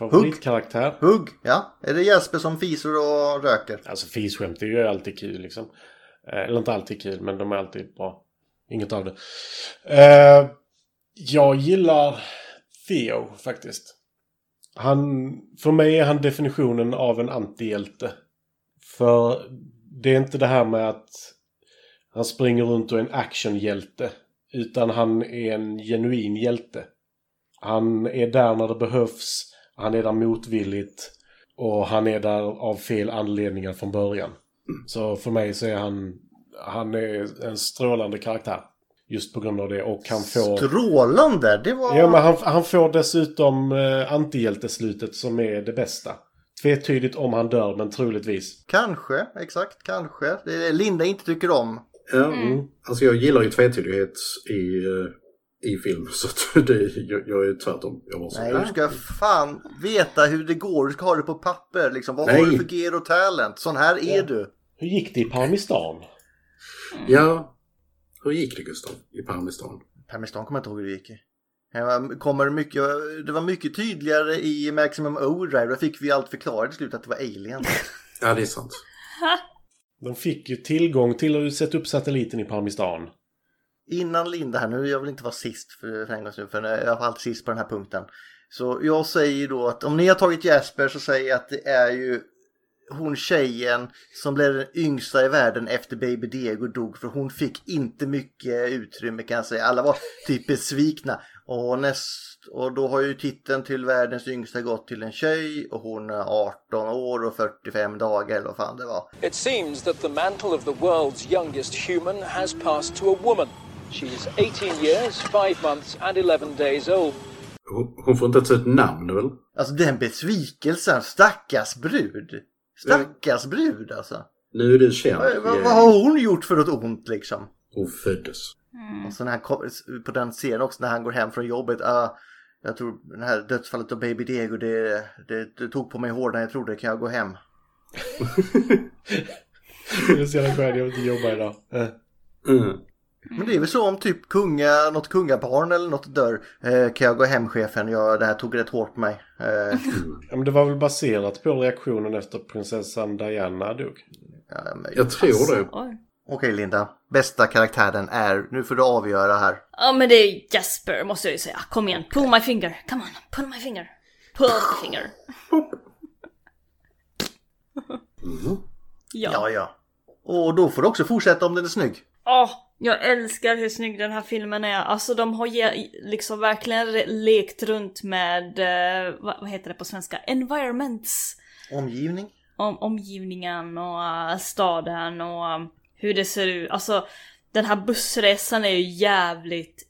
Favoritkaraktär.
Hugg! Ja, är det Jesper som fiser och röker?
Alltså fisskämt är ju alltid kul liksom. Eh, Eller inte alltid kul, men de är alltid bra. Inget av det. Eh, jag gillar Theo faktiskt. Han, för mig är han definitionen av en antihjälte. För det är inte det här med att han springer runt och är en actionhjälte. Utan han är en genuin hjälte. Han är där när det behövs. Han är där motvilligt. Och han är där av fel anledningar från början. Så för mig så är han, han är en strålande karaktär. Just på grund av det och han får...
Strålande? Det var...
Ja men han, han får dessutom eh, antihjälteslutet som är det bästa. Tvetydigt om han dör men troligtvis.
Kanske, exakt, kanske. Det är det Linda inte tycker om.
Ja, Alltså jag gillar ju tvetydighet i, eh, i film så att det, jag, jag är tvärtom. Jag var så,
Nej,
"Ah,
du ska fan veta hur det går. Du ska ha det på papper liksom. Vad
Nej.
har du för gear och talent? Sån här är du.
Hur gick det i Parmistan?
Ja, hur gick det Gustav i Parmistan?
Permistan kommer jag inte ihåg hur det gick. i. Det var- Kommer mycket, det var mycket tydligare i Maximum Overdrive. Där fick vi allt förklarat i slutet att det var aliens.
Ja, det är sant.
De fick ju tillgång till att sätta upp satelliten i Parmistan.
Innan Linda här nu, jag vill inte vara sist för, för en gångs skull, för jag var alltid sist på den här punkten. Så jag säger då att om ni har tagit Jasper så säger jag att det är ju hon tjejen som blev den yngsta i världen efter Baby Diego dog för hon fick inte mycket utrymme kan jag säga. Alla var typ besvikna. Och, näst, och då har ju titeln till världens yngsta gått till en tjej och hon är 18 år och 45 dagar eller vad fan det var.
It seems that the mantle of the world's youngest human has passed to a woman. She's 18 years, 5 months, and 11 days old.
Hon, hon får inte ens ett namn väl?
Alltså den besvikelsen, stackars brud. Stackars brud alltså.
Nu är du känd.
Vad, Eh, vad,
Yay.
vad har hon gjort för något ont liksom?
Hon föddes.
Och så när han kom, på den scenen också när han går hem från jobbet. ah, jag tror det här dödsfallet av Baby Diego det, det, det tog på mig hårdare än jag trodde. Kan jag gå hem?
Det är så jävla skönt, jag vill inte jobba idag. Eh.
Mm.
Men det är väl så om typ kunga, något kungabarn eller något dör. Eh, kan jag gå hem chefen? Jag, det här tog rätt hårt på mig. Eh,
Ja, men det var väl baserat på reaktionen efter prinsessan Diana dog?
Ja, men...
Jag tror det.
Oj.
Okej Linda, bästa karaktären är, nu får du avgöra här.
Ja men det är Jasper måste jag ju säga. Kom igen, pull my finger. Come on, pull my finger. Pull my finger. Ja.
ja, ja. Och då får du också fortsätta om den är snygg.
Åh, jag älskar hur snygg den här filmen är. Alltså de har ge, liksom verkligen re- lekt runt med, eh, vad, vad heter det på svenska? Environments.
Omgivning?
Om omgivningen och eh, staden och eh, hur det ser ut. Alltså den här bussresan är ju jävligt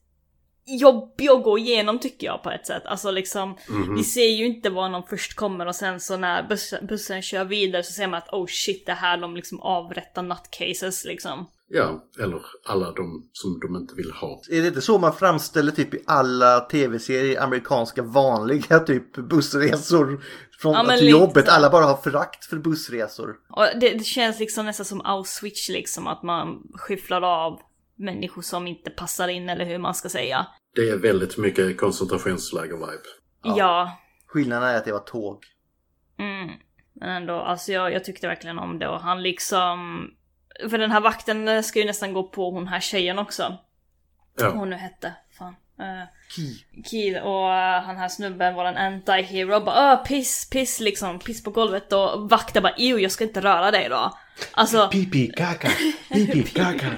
jobbig att gå igenom tycker jag på ett sätt. Alltså liksom,
Mhm.
vi ser ju inte var någon först kommer och sen så när bussen, bussen kör vidare så ser man att oh shit det här de liksom avrättar nutcases liksom.
Ja, eller alla de som de inte vill ha.
Är det inte så man framställer typ i alla tv-serier, amerikanska vanliga typ bussresor från
Ja, men
till
lite.
jobbet? Alla bara har förakt för bussresor.
Och det, det känns liksom nästan som Auschwitz liksom, att man skyfflar av människor som inte passar in eller hur man ska säga.
Det är väldigt mycket koncentrationsläger-vibe.
Ja.
Skillnaden är att det var tåg.
Mm. Men ändå, alltså jag, jag tyckte verkligen om det och han liksom... För den här vakten ska ju nästan gå på hon här tjejen också.
Ja.
Hon nu hette, fan. Eh,
Ki.
Kid och eh, han här snubben, våran anti-hero, bara "Åh, piss, piss liksom, piss på golvet och vakten bara ew, jag ska inte röra dig då. Alltså,
Pipi, kaka, pipi, kaka.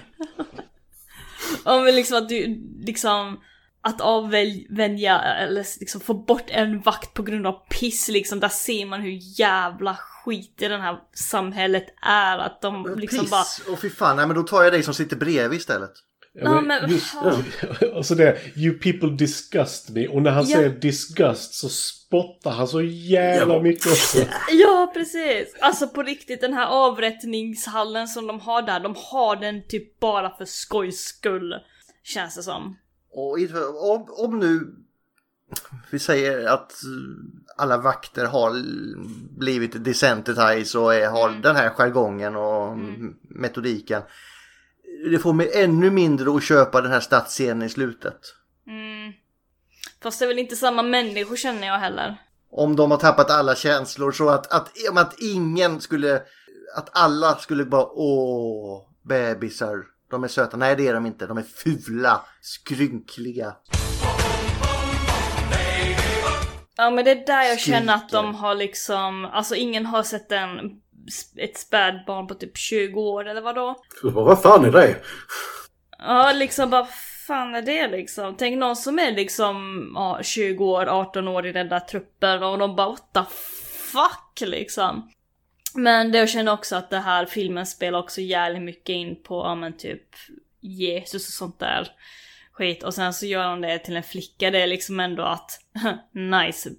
Ja men liksom att du liksom att avvänja eller liksom få bort en vakt på grund av piss liksom. Där ser man hur jävla skit i det här samhället är. Att de liksom
Piss!
bara...
Och fy fan, nej men då tar jag dig som sitter bredvid istället.
Ja, men-
Just, alltså det, you people disgust me. Och när han
Ja.
säger disgust så spottar han så jävla mycket också.
Ja precis! Alltså på riktigt den här avrättningshallen som de har där. De har den typ bara för skojs skull. Känns det som.
Och i- om, om nu vi säger att alla vakter har blivit desensitized och är, har den här jargongen och metodiken. Det får mig ännu mindre att köpa den här stadsscenen i slutet.
Mm. Fast det är väl inte samma människor känner jag heller.
Om de har tappat alla känslor så att, att, om att ingen skulle, att alla skulle bara åh, bebisar, de är söta. Nej det är de inte, de är fula, skrynkliga.
Ja men det är där jag känner att de
Skriker.
har liksom, alltså ingen har sett en, ett spädbarn på typ 20 år eller vadå?
Vad fan är det?
Ja liksom bara fan är det liksom? Tänk någon som är liksom ja, 20 år, 18 år i den där truppen och de bara what the fuck liksom. Men det jag känner också att det här filmen spelar också jävligt mycket in på, ja men typ Jesus och sånt där skit. Och sen så gör hon det till en flicka, det är liksom ändå att nice,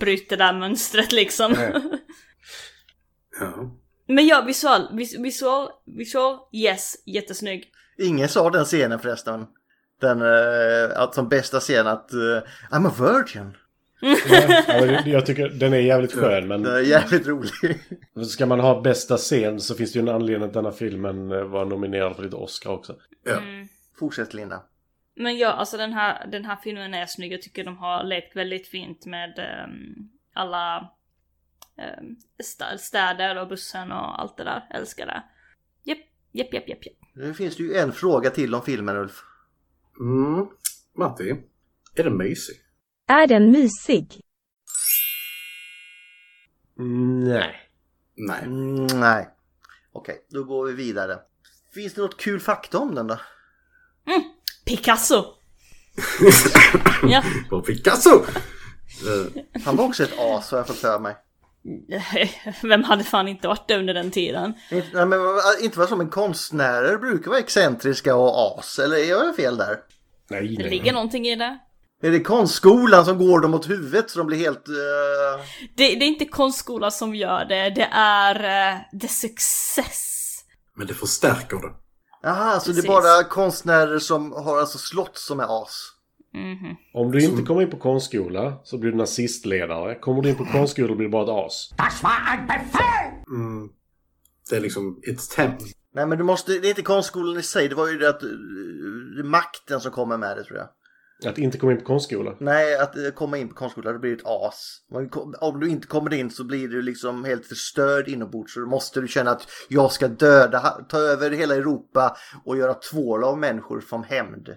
bryt det där mönstret liksom.
Ja.
Men ja, visual, vis- visual, visual, yes, jättesnygg.
Ingen sa den scenen förresten. Den, eh, att som bästa scen att eh, I'm a virgin.
Ja, men jag tycker den är jävligt skön men...
Den är jävligt rolig.
Ska man ha bästa scen så finns det ju en anledning att denna filmen eh, var nominerad för lite Oscar också.
Ja.
Fortsätt Linda.
Men ja, alltså den här, den här filmen är snygg. Jag tycker de har lekt väldigt fint med ehm, alla ehm, sta- städer och bussen och allt det där. Älskar det. Japp, japp, japp, japp, japp.
Nu finns det ju en fråga till om filmen Ulf.
Mm. Matti, är den mysig?
Är den mysig?
Mm, Nej.
Nej.
Mm, nej. Okej, då går vi vidare. Finns det något kul fakta om den då?
Picasso! ja.
På Picasso!
Han var också ett as har jag fått för mig.
Vem hade fan inte varit det under den tiden?
Inte, nej, men, vad- inte vad som en konstnärer brukar vara excentriska och as, eller är jag fel där?
Nej,
Det ligger någonting i det.
Är det konstskolan som går dem åt huvudet så de blir helt... eh,
Det, det är inte konstskola som gör det, det är eh, the success.
Men det förstärker det.
Jaha, så det
Precis.
är bara konstnärer som har alltså slott som är as?
Mhm.
Om du inte kommer in på konstskola så blir du nazistledare. Kommer du in på konstskola blir du bara ett as.
Mm. Det är liksom, it's temp.
Nej men du måste, det är inte konstskolan i sig, det var ju det att eh, makten som kommer med det tror jag.
Att inte komma in på konstskola.
Nej, att eh, komma in på konstskolan, då blir det ett as. Men ko- Om du inte kommer in så blir du liksom helt förstörd inombords. Så då måste du känna att jag ska döda, ha- ta över hela Europa och göra tvål av människor som hämnd.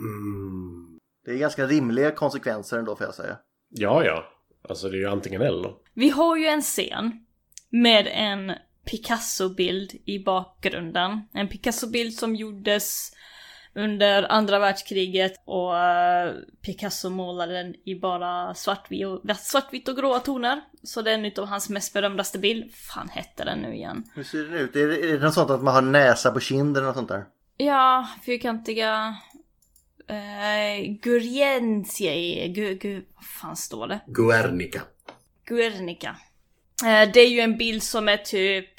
Mm.
Det är ganska rimliga konsekvenser ändå får jag säga.
Ja, ja. Alltså det är ju antingen eller.
Vi har ju en scen med en Picasso-bild i bakgrunden. En Picasso-bild som gjordes under andra världskriget och eh, Picasso målade den i bara svartvitt och, svartvitt och gråa toner. Så det är en utav hans mest berömdaste bild. Fan hette den nu igen?
Hur ser den ut? Är det, är det något sånt att man har näsa på kinden och sånt där?
Ja, fyrkantiga... Eh, Guernsey... Gu, gu, vad fan står det?
Guernica.
Guernica. Eh, Det är ju en bild som är typ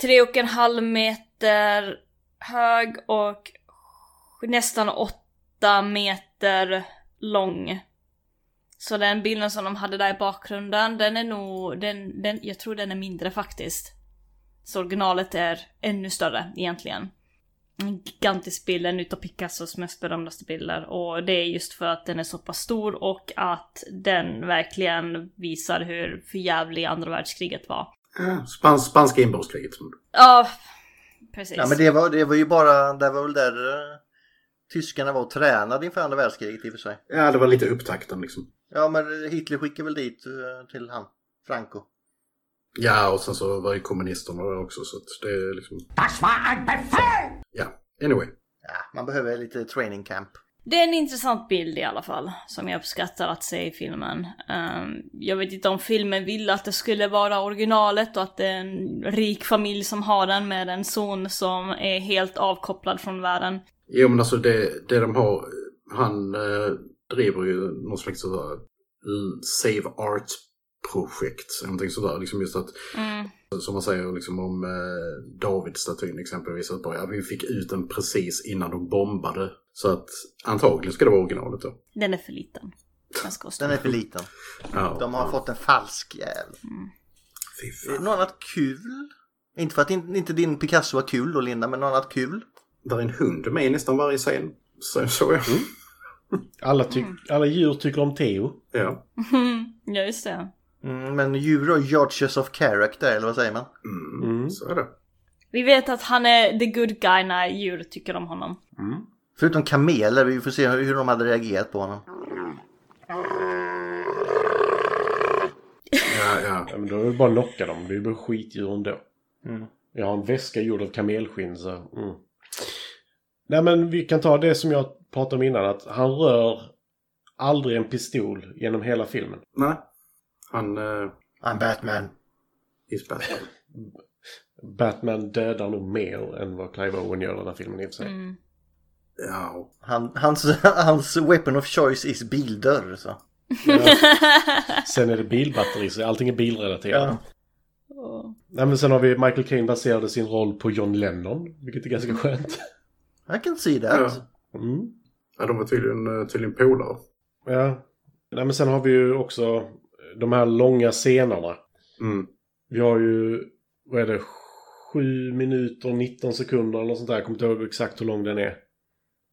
tre och en halv meter hög och nästan åtta meter lång. Så den bilden som de hade där i bakgrunden, den är nog, den, den, jag tror den är mindre faktiskt. Så originalet är ännu större egentligen. En gigantisk bild, en utav Picassos mest berömdaste bilder. Och det är just för att den är så pass stor och att den verkligen visar hur förjävlig andra världskriget var.
Ja, Spans spanska inbördeskriget.
Ja, precis.
Ja men det var, det var ju bara, det var väl där eh, tyskarna var och tränade inför andra världskriget i och för sig.
Ja, det var lite upptakten liksom.
Ja men Hitler skickade väl dit eh, till han, Franco.
Ja, och sen så var ju kommunisterna där också så att det är liksom... Ja, anyway.
Ja, man behöver lite training camp.
Det är en intressant bild i alla fall, som jag uppskattar att se i filmen. Ehm, jag vet inte om filmen ville att det skulle vara originalet och att det är en rik familj som har den med en son som är helt avkopplad från världen.
Jo, men alltså det, det de har, han eh, driver ju någon slags sådär l- save art-projekt, eller någonting sådär. Liksom just att,
Mm.
som man säger liksom om eh, Davidstatyn exempelvis, att bara, ja, vi fick ut den precis innan de bombade. Så att antagligen ska det vara originalet då.
Den är för liten. Den ska vara stor.
Den är för liten.
Ja.
De har fått en falsk jävel.
Fy
Är det
fan.
Något annat kul? Inte för att in, inte din Picasso var kul då Linda, men något annat kul?
Där är en hund med i nästan varje scen. Så, så jag.
Mm.
Alla, ty- alla djur tycker om Theo.
Ja.
ja, just det.
Mm, men djur och judges of character, eller vad säger man?
Mm, Så är det.
Vi vet att han är the good guy när djur tycker om honom.
Förutom kameler, vi får se hur hur de hade reagerat på honom.
Ja, ja.
Ja, men då är det bara att knocka dem. Det är ju bara skitdjur ändå.
Mm.
Jag har en väska gjord av kamelskinn så... Mm. Nej men vi kan ta det som jag pratade om innan att han rör aldrig en pistol genom hela filmen.
Nej. Han... Uh...
I'm Batman.
Is Batman.
Batman dödar nog mer än vad Clive Owen gör i den här filmen i och för sig.
Mm.
Ja.
Han, hans, hans weapon of choice is bildörr så.
Ja. Sen är det bilbatteri, så allting är bilrelaterat.
Ja.
Åh.
Nej, men sen har vi Michael Caine baserade sin roll på John Lennon, vilket är ganska skönt.
I can see that.
Ja.
Mm.
ja, de var tydligen, eh, tydligen polare.
Ja. Nej, men sen har vi ju också de här långa scenerna.
Mm.
Vi har ju, vad är det, 7 minuter och 19 sekunder eller något sånt där. Jag kommer inte ihåg exakt hur lång den är.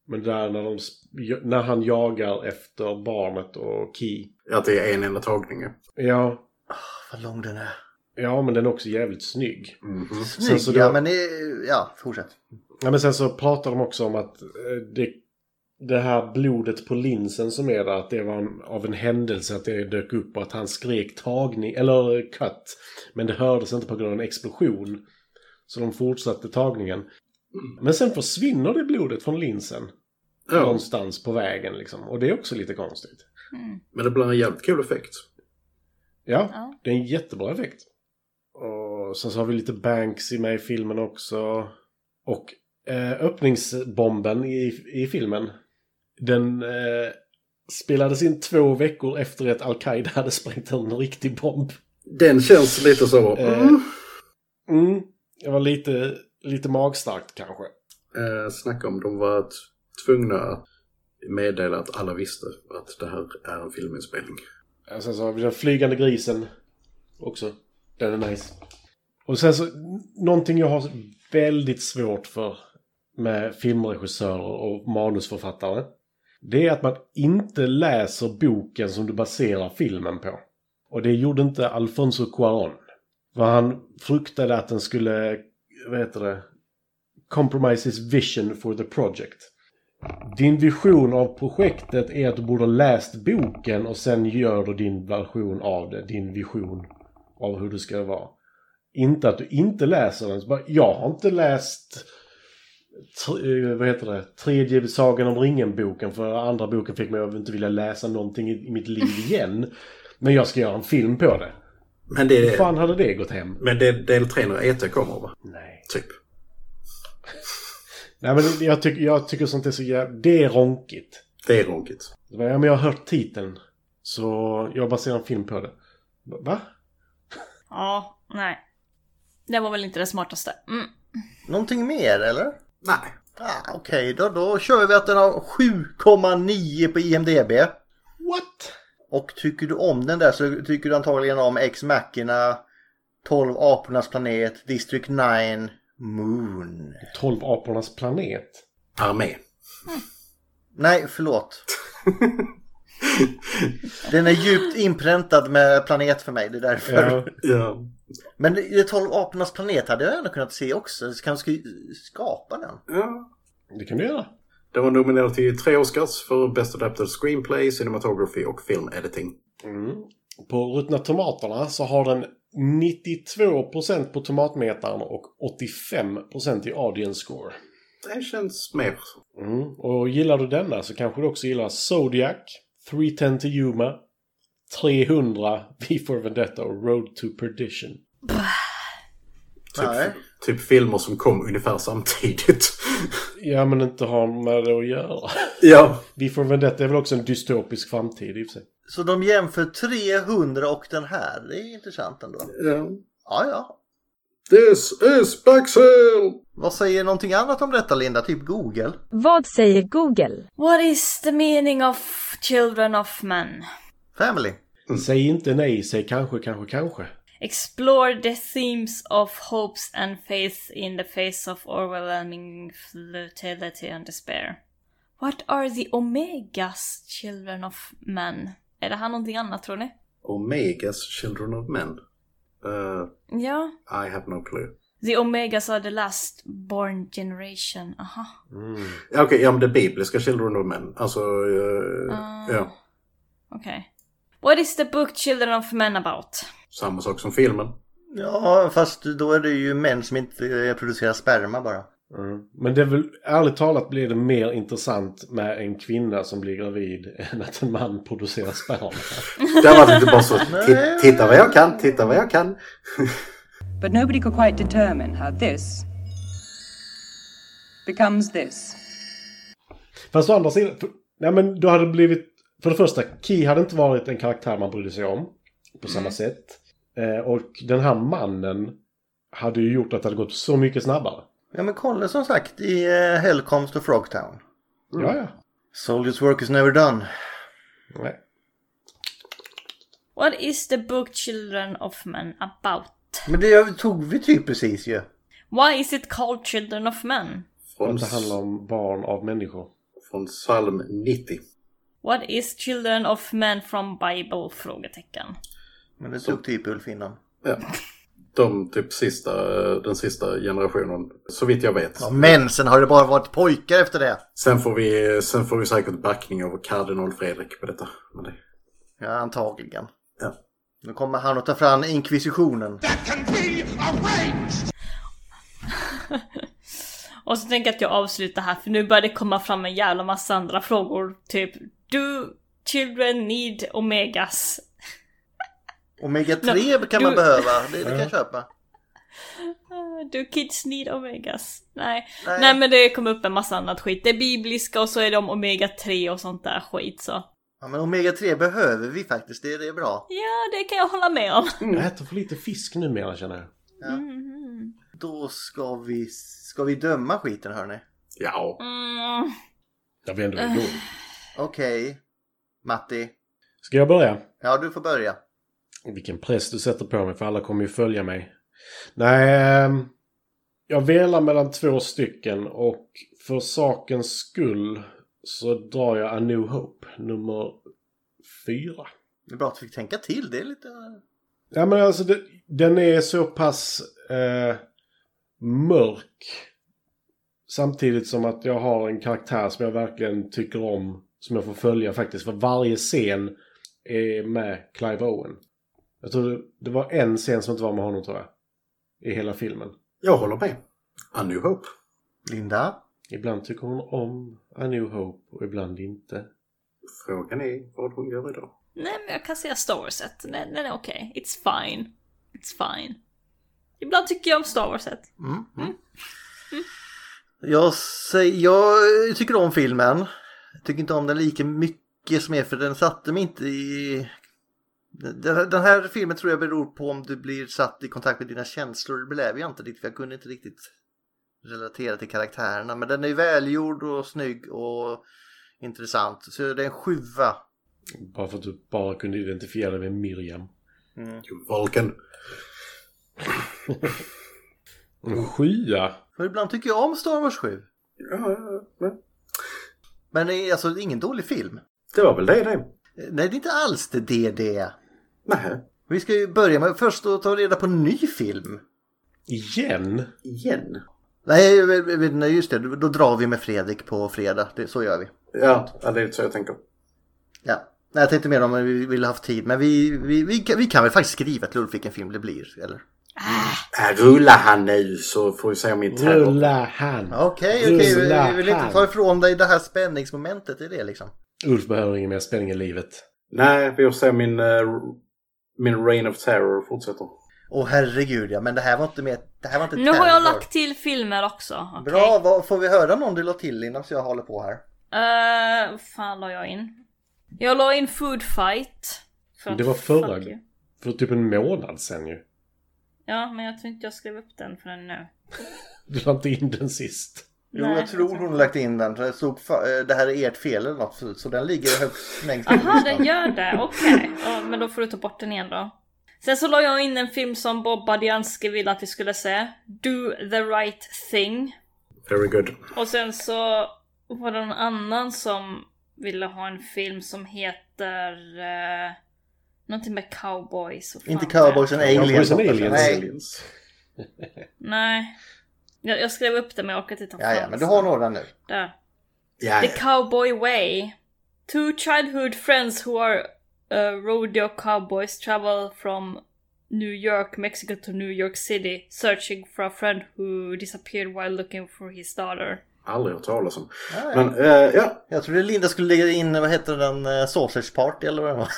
Men där när, de, sp- när han jagar efter barnet och Key.
Att det är en enda tagning. ja.
Ja,
Vad lång den är.
ja men den är också jävligt snygg.
Mhm.
Snygg,
så
ja
då-
men eh, ja, fortsätt.
Ja, men sen så pratar de också om att eh, det, det här blodet på linsen som är där, att det var en, av en händelse att det dök upp och att han skrek tagning, eller eh, cut. Men det hördes inte på grund av en explosion. Så de fortsatte tagningen. Men sen försvinner det blodet från linsen.
Ja,
Någonstans på vägen liksom. Och det är också lite konstigt.
Mm.
men det blir en jävligt kul effekt.
Ja,
Ja.
det är en jättebra effekt. Och sen så har vi lite Banksy med i filmen också. Och eh, öppningsbomben i, i filmen. Den eh, spelades in två veckor efter att Al-Qaida hade sprängt en riktig bomb.
Den känns lite så.
Eh,
Mm.
Mm, det var lite, lite magstarkt kanske.
Eh, snacka om de var t- tvungna att meddela att alla visste att det här är en filminspelning.
Eh, Sen så har vi den flygande grisen också. Den är nice. Och sen så, n- någonting jag har väldigt svårt för med filmregissörer och manusförfattare. Det är att man inte läser boken som du baserar filmen på. Och det gjorde inte Alfonso Cuarón. För han fruktade att den skulle, vad heter det, compromise his vision for the project. Din vision av projektet är att du borde ha läst boken och sen gör du din version av det, din vision av hur det ska vara. Inte att du inte läser den. Så bara, jag har inte läst tr- eh, vad heter det? tredje Sagan om ringen-boken för andra boken fick mig att inte vilja läsa någonting i i mitt liv igen. Men jag ska göra en film på det.
Men
Hur
det,
fan hade det gått hem?
men det är del tre när ET kommer va?
Nej.
Typ.
Nej men det- jag, tycker jag tycker sånt är så jävla... Det är ronkigt.
Det är ronkigt.
Så bara, Ja, men jag har hört titeln. Så jag baserar en film på det. Va?
Ja, nej. Det var väl inte det smartaste. Mm.
Någonting mer eller?
Nej.
Ah, Okej, då, då kör vi att den har 7,9 på IMDB.
What?
Och tycker du om den där så tycker du antagligen om X-Mackorna, 12 apornas planet, District 9, Moon.
12 apornas planet.
Armé.
Nej, förlåt. Den är djupt inpräntad med planet för mig, det är därför.
Ja.
Ja.
Men det är 12 apornas planet hade jag ändå kunnat se också, så kanske ska skapa den.
ja.
Det kan du göra.
Den var nominerad till tre Oscars för Best Adapted Screenplay, Cinematography och Film Editing.
På ruttna tomaterna så har den 92% på tomatmetaren och 85% i audience score.
Det känns mer.
Mm. Och gillar du denna så kanske du också gillar Zodiac, 310 to Yuma, 300, V for Vendetta och Road to Perdition.
Typ,
Nej.
typ filmer som kom ungefär samtidigt.
Ja, men inte har med det att göra.
ja.
V for Vendetta är väl också en dystopisk framtid i och för sig.
Så de jämför 300 och den här, det är intressant ändå.
ja.
Ja, ja.
This is Baxel!
Vad säger någonting annat om detta Linda? Typ Google?
Vad säger Google?
What is the meaning of children of men?
Family?
Mm. Säg inte nej, säg kanske, kanske, kanske.
Explore the themes of hopes and faith in the face of overwhelming futility and despair. What are the omegas, children of men? Är det här någonting annat tror ni?
Omegas Children of Men. Uh,
Ja.
I have no clue.
The omegas are the last born generation. Aha.
Ja, Okej, ja men det bibliska Children of Men. Alltså, eh,
Ah.
ja.
Okej. What is the book Children of Men about?
Samma sak som filmen.
Ja, fast då är det ju män som inte eh, producerar sperma bara.
Mm. Men det är väl, ärligt talat blir det mer intressant med en kvinna som blir gravid än att en man producerar sperma.
Det har varit inte bara så, "Ti- titta vad jag kan, titta vad jag kan.
But nobody could quite determine how this becomes this.
Fast å andra sidan, för, nej men då hade det blivit, för det första, Ki hade inte varit en karaktär man brydde sig om på samma sätt. Eh, och den här mannen hade ju gjort att det hade gått så mycket snabbare.
Ja men kolla som sagt i eh, Hellcomst och Frogtown.
Mm. Ja, ja.
Soldiers work is never done.
Nej.
What is the book Children of Men about?
Men det tog vi typ precis ju.
Why is it called Children of Men?
För att det handlar om barn av människor.
Från psalm 90.
What is Children of Men from Bible? Frågetecken.
Men det tog typ Ulf innan.
Ja. De typ sista, eh, den sista generationen, så vitt jag vet.
Ja, men sen har det bara varit pojkar efter det.
Sen får vi, sen får vi säkert backning av kardinal Fredrik på detta. Men det,
Ja, antagligen.
Ja.
Nu kommer han att ta fram inkvisitionen.
Och så tänker jag att jag avslutar här för nu börjar det komma fram en jävla massa andra frågor. Typ Do children need omegas?
Omega 3
No,
kan man
du-
behöva. Det, det kan jag
Ja.
köpa.
Uh, Do kids need omegas? Nej.
Nej.
Nej. men det kom upp en massa annat skit. Det är bibliska och så är det om omega 3 och sånt där skit så.
Ja, men Omega 3 behöver vi faktiskt. Det, det är bra.
Ja, det kan jag hålla med om.
Jag äter för lite fisk numera känner jag.
Mm.
Då ska vi, ska vi döma skiten hörni.
Ja.
Mm.
Jag vet inte
vad det går. Okej. Matti.
Ska jag börja?
Ja, du får börja.
Vilken press du sätter på mig för alla kommer ju följa mig. Nej, ehm, jag velar mellan två stycken och för sakens skull så drar jag A New Hope nummer fyra.
Det är bra att du fick tänka till. Det är lite...
Ja men alltså det, den är så pass eh, mörk. Samtidigt som att jag har en karaktär som jag verkligen tycker om. Som jag får följa faktiskt. För varje scen är med Clive Owen. Jag tror det, det var en scen som inte var med honom tror jag. I hela filmen.
Jag håller med. A New Hope.
Linda?
Ibland tycker hon om A New Hope och ibland inte.
Frågan är vad hon gör idag.
Nej men jag kan säga Star Wars-et. Nej, nej, nej okej. It's fine. It's fine. Ibland tycker jag om Star Wars-et.
Mm. Jag, säger, jag tycker om filmen. Jag tycker inte om den lika mycket som er för den satte mig inte i... Den den här filmen tror jag beror på om du blir satt i kontakt med dina känslor. Det blev jag inte riktigt. för Jag kunde inte riktigt relatera till karaktärerna. Men den är välgjord och snygg och intressant. Så det är en sjua.
Bara för att du bara kunde identifiera dig med Miriam.
Mm.
Volken.
En skya.
För ibland tycker jag om Star Wars 7. Men det är alltså ingen dålig film.
Det var väl det det.
Nej, det är inte alls det det det. är.
Nej.
Vi ska ju börja med först att ta reda på en ny film.
Igen?
Igen?
Nej, vi- vi- vi- nej, just det. Då drar vi med Fredrik på fredag. Det, så gör vi.
Ja, ja, det är lite så jag tänker.
Ja. Nej, jag tänkte mer om vi ville haft tid. Men vi, vi, vi, kan, vi kan väl faktiskt skriva till Ulf vilken film det blir, eller?
Äh, Rulla han nu så får vi se om min terror.
Rulla han.
Okej, okej. vi-
Rulla
Vi vill inte
han.
ta ifrån dig det här spänningsmomentet. Det är det liksom.
Ulf behöver ingen mer spänning i livet.
Nej, vi får se om min, eh, min Reign of Terror fortsätter.
Åh herregud ja, men det här var inte mer... Det här var inte
Nu har jag
terror.
lagt till filmer också. okej?
Bra, vad, får vi höra någon du la till innan så jag håller på här?
Eh, vad fan la jag in? Jag la in Food Fight. För att-
Det var förra...
fuck you.
För typ en månad sen ju.
Ja, men jag tror inte jag skrev upp den förrän nu.
Du la inte in den sist.
Jo,
Nej,
jag tror hon har lagt in den. Det stod fa- eh, det här är ert fel eller något, så- så den ligger högst längst upp.
Jaha, den gör det? Okej. Ja, men då får du ta bort den igen då. Sen så la jag in en film som Bob Badianski ville att vi skulle se. Do the right thing.
Very good.
Och sen så var det någon annan som ville ha en film som heter... Uh, någonting med cowboys. Vad fan
Inte
var det?
Cowboys and Aliens.
Cowboys and
hoppas jag.
Aliens.
Nej.
Nej. Jag, jag skrev upp det men jag orkar inte ta
Ja, ja,
fram
men du
det.
har några nu.
Där.
Ja,
The Cowboy Way. Two childhood friends who are uh, rodeo cowboys travel from New York, Mexico to New York City searching for a friend who disappeared while looking for his daughter.
Aldrig hört talas om.
Nej.
Men eh, ja,
Jag trodde Linda skulle lägga in, vad heter den, eh, Sausage Party eller vad det var.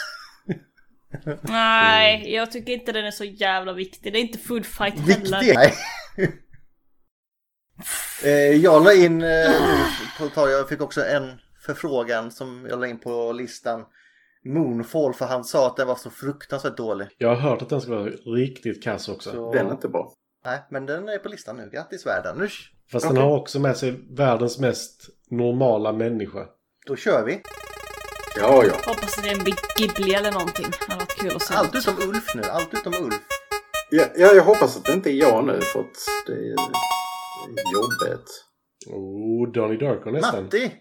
Nej, jag tycker inte den är så jävla viktig. Det är inte Food Fight heller.
Viktig? Nej. Eh, jag la in, eh, ord på tal, jag fick också en förfrågan som jag la in på listan. Moonfall, för han sa att den var så fruktansvärt dålig.
Jag har hört att den ska vara riktigt kass också.
Så-
den är inte bra.
Nej, men den är på listan nu. Grattis världen. Nu,
Fast
Okej.
den har också med sig världens mest normala människa.
då kör vi.
Ja, ja.
Hoppas det är en Big Ghibli eller någonting. Det hade varit kul att se.
Allt utom Ulf nu. Allt utom Ulf.
Ja, ja, jag hoppas att det inte är jag nu för att det är det är jobbigt.
Oh, Donnie Darko nästan. Oh,
Matti!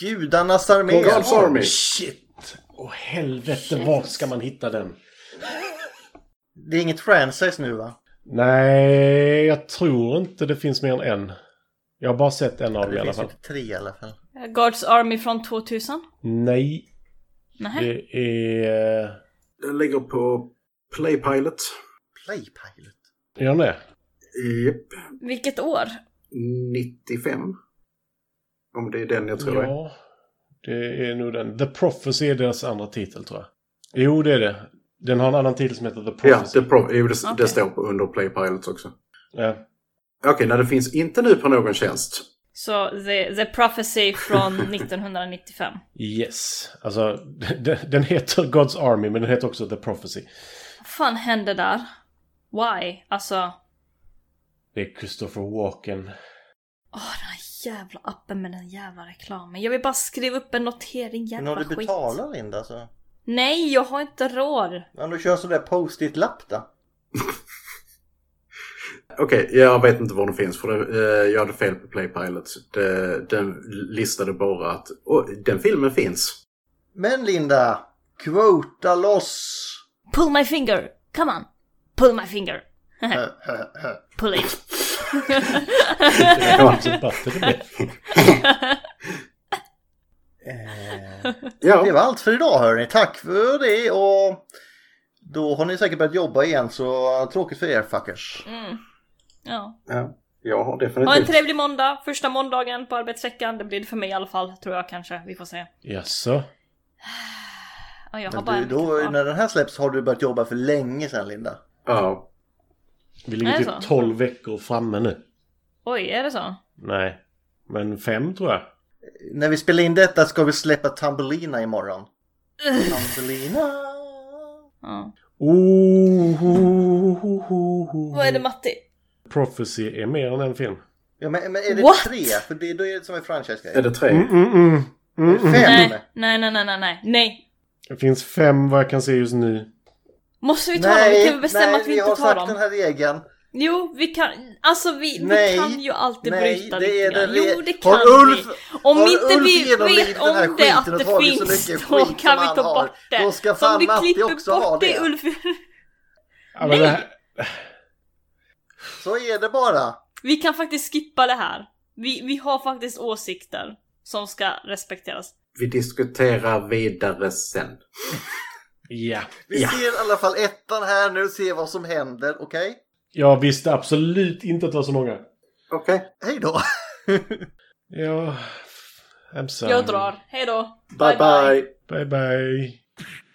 Gudarnas armé.
God's Army.
Shit! Åh helvete, var ska man hitta den?
Det är inget franchise nu va?
Nej, jag tror inte det finns mer än en. Jag har bara sett en av dem i
Det
alla
finns ju
fall.
inte tre i alla fall.
Guards Eh, Army från 2000?
Nej,
Nej.
det är...
Den ligger på Playpilot.
Playpilot.
Är den det?
Japp.
Vilket år?
95. Om det är den jag tror det är.
Ja, det är nog den. The Prophecy är deras andra titel tror jag. Jo, det är det. Den har en annan titel som heter The
Ja,
Prophecy.
det, pro- jo, det,
Okej.
det står på under Playpilot också.
Ja.
Okej, nej det finns inte nu på någon tjänst.
Så the, the Prophecy från 1995.
Yes. Alltså, den, den heter God's Army men den heter också The Prophecy.
Vad fan hände där? Why? Alltså...
Det är Christopher Walken.
Åh, den här jävla appen med den jävla reklamen. Jag vill bara skriva upp en notering,
Men
jävla
har du
skit.
betalat Linda så...
Nej, jag har inte råd.
Ja, du kör en sån där post-it-lapp då.
Okej, jag vet inte var den finns för det, eh, jag hade fel på Playpilot. Det, den listade bara att "Åh, den filmen finns.
Men Linda! Quota loss!
Pull my finger! Come on! Pull my finger!
Hö, hö, hö.
Pull it!
Ja, alltså, Butterby.
Eh,
Ja,
Det var allt för idag hörni. Tack för det och då har ni säkert börjat jobba igen så tråkigt för er fuckers.
Mm. Ja.
ja jag har
Ha en
definitivt.
trevlig måndag, första måndagen på arbetsveckan. Det blir det för mig i alla fall, tror jag kanske. Vi får se.
Jaså?
Ja, jag har
Men
bara
du,
en
då,
vecka kvar.
när den här släpps har du börjat jobba för länge sedan Linda.
Ja.
Vi
Är
ligger
det
typ
så?
12 veckor framme nu.
Oj, är det så?
Nej, men fem tror jag.
När vi spelar in detta ska vi släppa Tambelina imorgon. Tambelina!
Ja.
Oh, oh, oh, oh, oh.
Vad är det Matti?
Prophecy är mer än en film.
Ja, men, men är det
What?
tre? För det, då är det som en franchise-grej.
Är det tre?
Mm, mm. Mm, mm.
Fem?
Nej, nej, nej, nej, nej, nej, nej.
Det finns fem vad jag kan se just nu.
Måste vi ta dem? Vi kan väl bestämma
nej,
att vi inte tar
har sagt
dem?
den här regeln.
Jo, vi kan... Alltså vi, vi
Nej,
kan ju alltid
nej,
bryta
det
lite
är
grann.
det re-
Jo, det kan
Har Ulf-
vi. Om
har
inte
Ulf
vi
genomlidit
vet
den här
om det,
skiten
att
och
det
tagit så
finns,
mycket
då
skit
kan
som
vi ta
han har,
bort det.
då
Så
ska
om
fan
du
Matti
klipper
också ha
bort det,
det.
Ulf.
Ja, men
Nej!
det här-
Så är det bara.
Vi kan faktiskt skippa det här. Vi, vi har faktiskt åsikter som ska respekteras.
Vi diskuterar vidare sen.
Ja.
Vi ser i alla fall ettan här nu, ser vad som händer, okej?
Jag visste absolut inte att det var så många.
Okej.
Hej då!
Ja... I'm sorry.
Jag drar. Hej då.
Bye bye.
Bye bye.